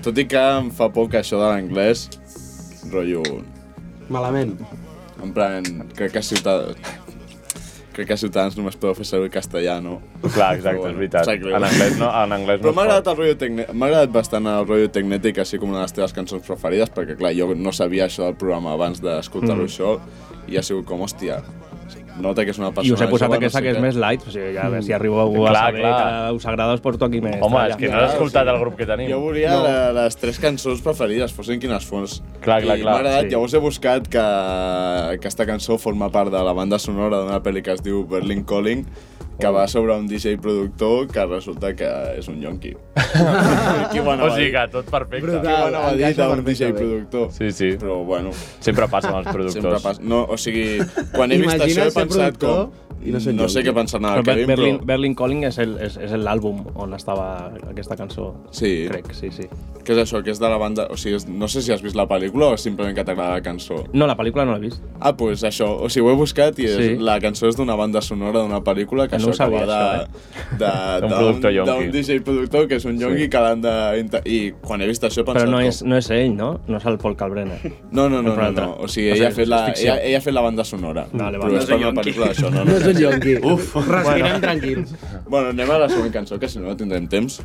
[SPEAKER 13] Tot i que em fa por que això de l'anglès, rotllo...
[SPEAKER 8] Malament.
[SPEAKER 13] En plan, crec que ciutadans... Crec que Ciutadans només podeu fer servir castellà, no?
[SPEAKER 3] Clar, exacte, és veritat. En anglès no- en anglès no
[SPEAKER 13] Però
[SPEAKER 3] es
[SPEAKER 13] m'ha
[SPEAKER 3] pot.
[SPEAKER 13] agradat, el rotllo tecne... m'ha agradat bastant el rotllo tecnètic, així com una de les teves cançons preferides, perquè clar, jo no sabia això del programa abans
[SPEAKER 9] Mhm.
[SPEAKER 13] d'escoltar-ho això, i ha sigut com, hòstia, nota que és una persona...
[SPEAKER 9] I us he posat
[SPEAKER 13] jove,
[SPEAKER 9] aquesta
[SPEAKER 13] sé
[SPEAKER 9] que és
[SPEAKER 13] què.
[SPEAKER 9] més light, o sigui, que a veure si arribo a algú a
[SPEAKER 13] Clar,
[SPEAKER 9] saber
[SPEAKER 13] clar.
[SPEAKER 9] que us agrada, us porto aquí més.
[SPEAKER 13] Home,
[SPEAKER 3] és que no has escoltat el grup que tenim.
[SPEAKER 13] Jo volia
[SPEAKER 3] No.
[SPEAKER 13] no. les tres cançons preferides, fossin quines fos.
[SPEAKER 3] Clar, clar,
[SPEAKER 13] I
[SPEAKER 3] clar,
[SPEAKER 13] m'ha agradat,
[SPEAKER 3] sí.
[SPEAKER 13] llavors he buscat que aquesta cançó forma part de la banda sonora d'una pel·li que es diu Berlin Calling, que va sobre un DJ productor que resulta que és un yonqui. Qui ho anava
[SPEAKER 3] o
[SPEAKER 13] a
[SPEAKER 3] sigui
[SPEAKER 13] dir?
[SPEAKER 3] que tot perfecte.
[SPEAKER 13] Qui ho anava a dir d'un DJ productor?
[SPEAKER 3] Sí, sí.
[SPEAKER 13] Però bueno.
[SPEAKER 3] Sempre passa amb els productors.
[SPEAKER 13] Sempre passa. No, o sigui, quan he vist
[SPEAKER 9] Imagina't
[SPEAKER 13] això he
[SPEAKER 9] ser
[SPEAKER 13] pensat
[SPEAKER 9] productor
[SPEAKER 13] com... No sé què pensar nada,
[SPEAKER 9] Però Ber-
[SPEAKER 13] Kevin,
[SPEAKER 9] Berlin,
[SPEAKER 13] però...
[SPEAKER 9] Berlin Calling és el- és- és l'àlbum on estava aquesta cançó.
[SPEAKER 13] Sí.
[SPEAKER 9] Crec, sí, sí.
[SPEAKER 13] Què és això? Que és de la banda... O sigui, és- no sé si has vist la pel·lícula o simplement que t'agrada la cançó.
[SPEAKER 9] No, la pel·lícula no l'he vist.
[SPEAKER 13] Oh. Ah, doncs pues això. O sigui, ho he buscat i és,
[SPEAKER 9] Sí.
[SPEAKER 13] la cançó és d'una banda sonora d'una pel·lícula que
[SPEAKER 9] No ho
[SPEAKER 13] això
[SPEAKER 9] sabia, eh?
[SPEAKER 13] acaba de...
[SPEAKER 9] D'un
[SPEAKER 13] de-
[SPEAKER 9] productor
[SPEAKER 13] de-
[SPEAKER 9] yonqui.
[SPEAKER 13] D'un DJ productor que és un yonqui
[SPEAKER 9] Sí.
[SPEAKER 13] que l'han de... inter- I quan he vist això he pensat
[SPEAKER 9] Però no
[SPEAKER 13] com...
[SPEAKER 9] és, no és ell, no? No és el Paul Calbrena.
[SPEAKER 13] No, no,
[SPEAKER 9] És
[SPEAKER 13] no,
[SPEAKER 9] un
[SPEAKER 13] no,
[SPEAKER 9] altre.
[SPEAKER 13] no. O sigui, ella, ha fet la, ella, ella ha fet la banda sonora.
[SPEAKER 9] Vale, vale.
[SPEAKER 13] Però
[SPEAKER 9] No és
[SPEAKER 13] és
[SPEAKER 9] un
[SPEAKER 13] per una
[SPEAKER 9] yonqui.
[SPEAKER 13] pel·lícula d'això, no?
[SPEAKER 9] No és un yonqui.
[SPEAKER 13] Uf,
[SPEAKER 9] Respirem
[SPEAKER 13] tranquils. Bueno, anem a la següent cançó, que si no no tindrem temps.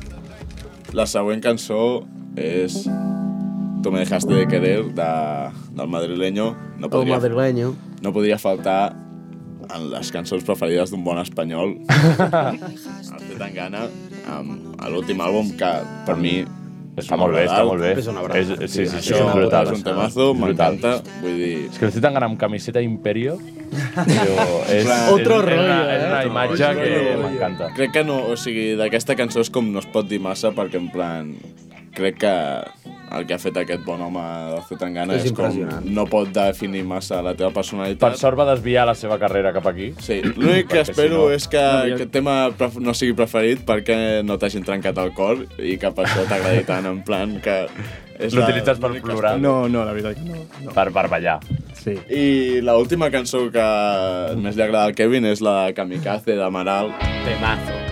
[SPEAKER 13] La següent cançó és... Tu me dejaste de querer, de, del madrileño. No
[SPEAKER 8] El
[SPEAKER 13] podria,
[SPEAKER 8] madrileño.
[SPEAKER 13] no podria faltar en les cançons preferides d'un bon espanyol. El té tan gana. Amb l'últim àlbum, que per mi... Està
[SPEAKER 3] molt bé, està molt bé. És una brava. És- sí, sí, sí, és brutal.
[SPEAKER 13] És un temazo,
[SPEAKER 3] És brutal.
[SPEAKER 13] m'encanta. Vull dir...
[SPEAKER 3] És que l'estic tan gran amb camiseta Imperio, però és,
[SPEAKER 13] Otro
[SPEAKER 3] és, és, una,
[SPEAKER 13] rollo,
[SPEAKER 3] és una
[SPEAKER 13] eh?
[SPEAKER 3] imatge
[SPEAKER 13] Otro
[SPEAKER 3] que
[SPEAKER 13] rollo.
[SPEAKER 3] m'encanta.
[SPEAKER 13] Crec que no, o sigui, d'aquesta cançó és com no es pot dir massa perquè en plan... Crec que el que ha fet aquest bon home de Zetangana
[SPEAKER 3] És
[SPEAKER 13] és, és com
[SPEAKER 3] impressionant.
[SPEAKER 13] no pot definir massa la teva personalitat.
[SPEAKER 3] Per sort va desviar la seva carrera cap aquí.
[SPEAKER 13] Sí, L'únic
[SPEAKER 3] Perquè
[SPEAKER 13] que
[SPEAKER 3] si
[SPEAKER 13] espero
[SPEAKER 3] no-
[SPEAKER 13] és que
[SPEAKER 3] No, jo-
[SPEAKER 13] aquest tema pref- no sigui preferit perquè no t'hagin trencat el cor i que per això t'agradi tant, en plan que... és la-
[SPEAKER 3] L'utilitzes per plorar?
[SPEAKER 13] No,
[SPEAKER 9] no, la veritat que no. no.
[SPEAKER 3] Per, per ballar.
[SPEAKER 9] Sí.
[SPEAKER 13] I l'última cançó que més li agrada al Kevin és la de Kamikaze d'Amaral. Temazo.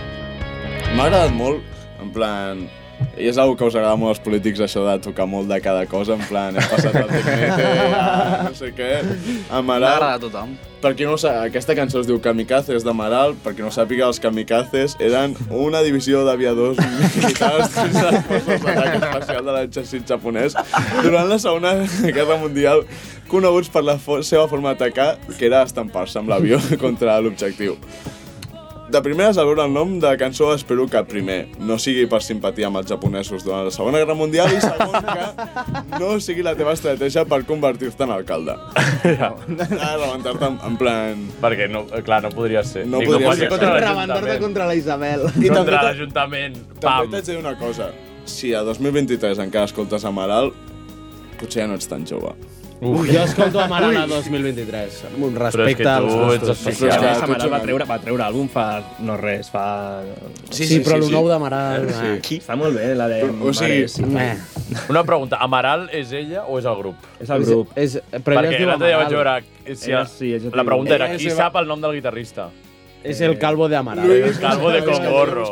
[SPEAKER 13] M'ha agradat molt, en plan... I és una que us agrada molt als polítics, això de tocar molt de cada cosa, en plan, he passat el tecnete, a ah, no sé què... Amaral...
[SPEAKER 12] M'agrada a tothom.
[SPEAKER 13] Per qui no ho sap, aquesta cançó es diu Kamikazes d'Amaral, per qui no ho sàpiga, els kamikazes eren una divisió d'aviadors militars dins les forces d'atac especial de l'exèrcit japonès durant la Segona Guerra Mundial, coneguts per la fo- seva forma d'atacar, que era estampar-se amb l'avió contra l'objectiu. de primeres al veure el nom de cançó espero que primer no sigui per simpatia amb els japonesos durant la Segona Guerra Mundial i segon que no sigui la teva estratègia per convertir-te en alcalde. Ja. Ah, rebentar-te en, en plan...
[SPEAKER 3] Perquè, no, eh, clar, no podria ser.
[SPEAKER 13] No
[SPEAKER 3] I
[SPEAKER 13] podria
[SPEAKER 3] com
[SPEAKER 13] ser.
[SPEAKER 3] contra
[SPEAKER 8] Rebentar-te contra la Isabel.
[SPEAKER 13] I també
[SPEAKER 3] Contra
[SPEAKER 13] t'ha-
[SPEAKER 3] l'Ajuntament.
[SPEAKER 13] També t'haig de dir una cosa. Si a 2023 encara escoltes Amaral, potser ja no ets tan jove.
[SPEAKER 8] Ui, jo escolto Amaral a
[SPEAKER 13] Ui.
[SPEAKER 8] 2023. Amb un
[SPEAKER 13] Però és que
[SPEAKER 8] respecte als
[SPEAKER 13] tu ets
[SPEAKER 8] gustos.
[SPEAKER 13] especial.
[SPEAKER 8] Però és que
[SPEAKER 9] Amaral va
[SPEAKER 8] tu-
[SPEAKER 9] treure, va treure àlbum fa no res, fa...
[SPEAKER 8] Sí, sí, però sí, el sí. nou d'Amaral, eh.
[SPEAKER 9] Sí. Està molt bé, la de...
[SPEAKER 3] O sigui,
[SPEAKER 9] Mares, sí.
[SPEAKER 3] meh. Una pregunta, Amaral és ella o és el grup?
[SPEAKER 9] És el grup.
[SPEAKER 8] És,
[SPEAKER 9] però ella es
[SPEAKER 3] Perquè
[SPEAKER 9] diu
[SPEAKER 3] l'altre dia vaig veure... Eh,
[SPEAKER 9] Amaral.
[SPEAKER 3] Si
[SPEAKER 9] Ella
[SPEAKER 3] ella,
[SPEAKER 9] sí, ella es
[SPEAKER 3] la
[SPEAKER 9] diu-
[SPEAKER 3] pregunta
[SPEAKER 13] Eh,
[SPEAKER 3] era,
[SPEAKER 9] Ella
[SPEAKER 3] qui
[SPEAKER 9] se va-
[SPEAKER 3] sap el nom del guitarrista?
[SPEAKER 8] És el calvo de Amaral.
[SPEAKER 3] Luis Calvo de Congorro.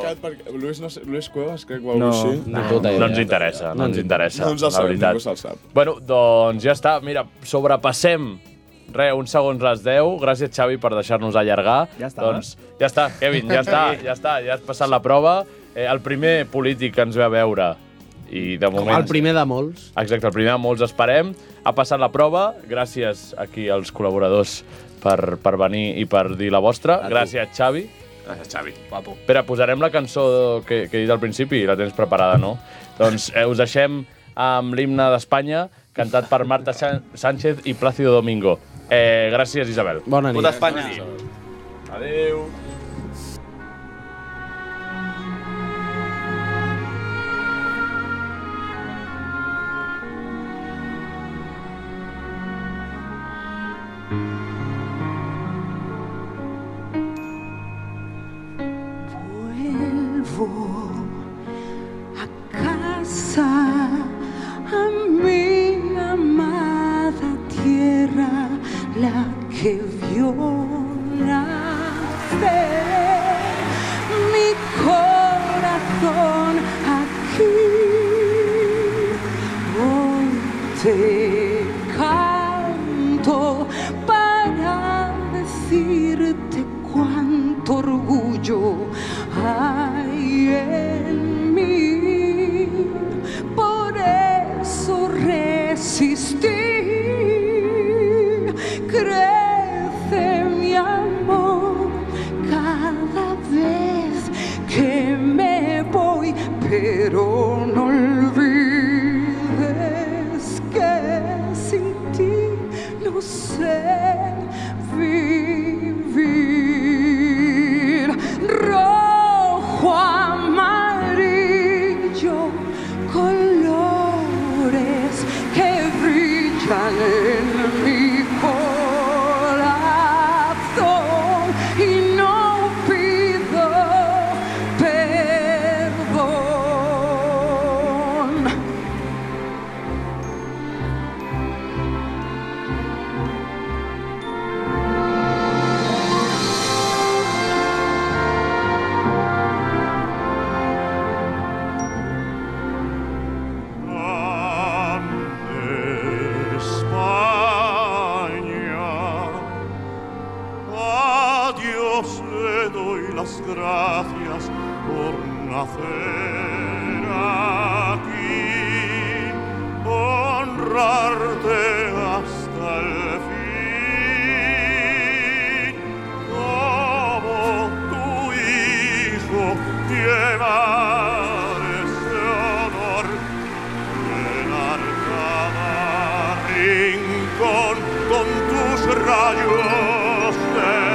[SPEAKER 13] Luis, no sé, Luis Cuevas, crec, o alguna cosa així.
[SPEAKER 3] no, no ens interessa, no ens interessa,
[SPEAKER 13] No ens el
[SPEAKER 3] la
[SPEAKER 13] sabem,
[SPEAKER 3] veritat.
[SPEAKER 13] ningú se'l sap.
[SPEAKER 3] Bueno, doncs ja està. Mira, sobrepassem Re, uns segons les 10. Gràcies, Xavi, per deixar-nos allargar.
[SPEAKER 9] Ja està.
[SPEAKER 3] Doncs, ja està, Kevin, ja està, ja està. Ja has passat la prova. Eh, el primer polític que ens ve a veure i de moment...
[SPEAKER 8] El primer de molts.
[SPEAKER 3] Exacte, el primer de molts esperem. Ha passat la prova. Gràcies aquí als col·laboradors per, per venir i per dir la vostra. Gràcies, Xavi. Gràcies, Xavi. Guapo. Espera, posarem la cançó que, que he dit al principi. La tens preparada, no? Doncs eh, us deixem amb l'himne d'Espanya, cantat per Marta San Sánchez i Plácido Domingo. Eh, gràcies, Isabel.
[SPEAKER 8] Bona nit.
[SPEAKER 3] Puta Espanya. Adéu.
[SPEAKER 17] Vuelvo a casa, a mi amada tierra, la que vio nacer mi corazón aquí. Hoy te canto para decirte cuánto orgullo hay en mí. Por eso resistí. Crece mi amor cada vez que me voy, pero no olvides que sin ti no sé vivir. Rojo, amarillo, colores que brillan en mi corazón y no pido perdón.
[SPEAKER 18] España. A Dios le doy las gracias por nacer aquí, honrarte hasta el fin. Como tu hijo llevar ese honor llenar cada rincón con tus rayos de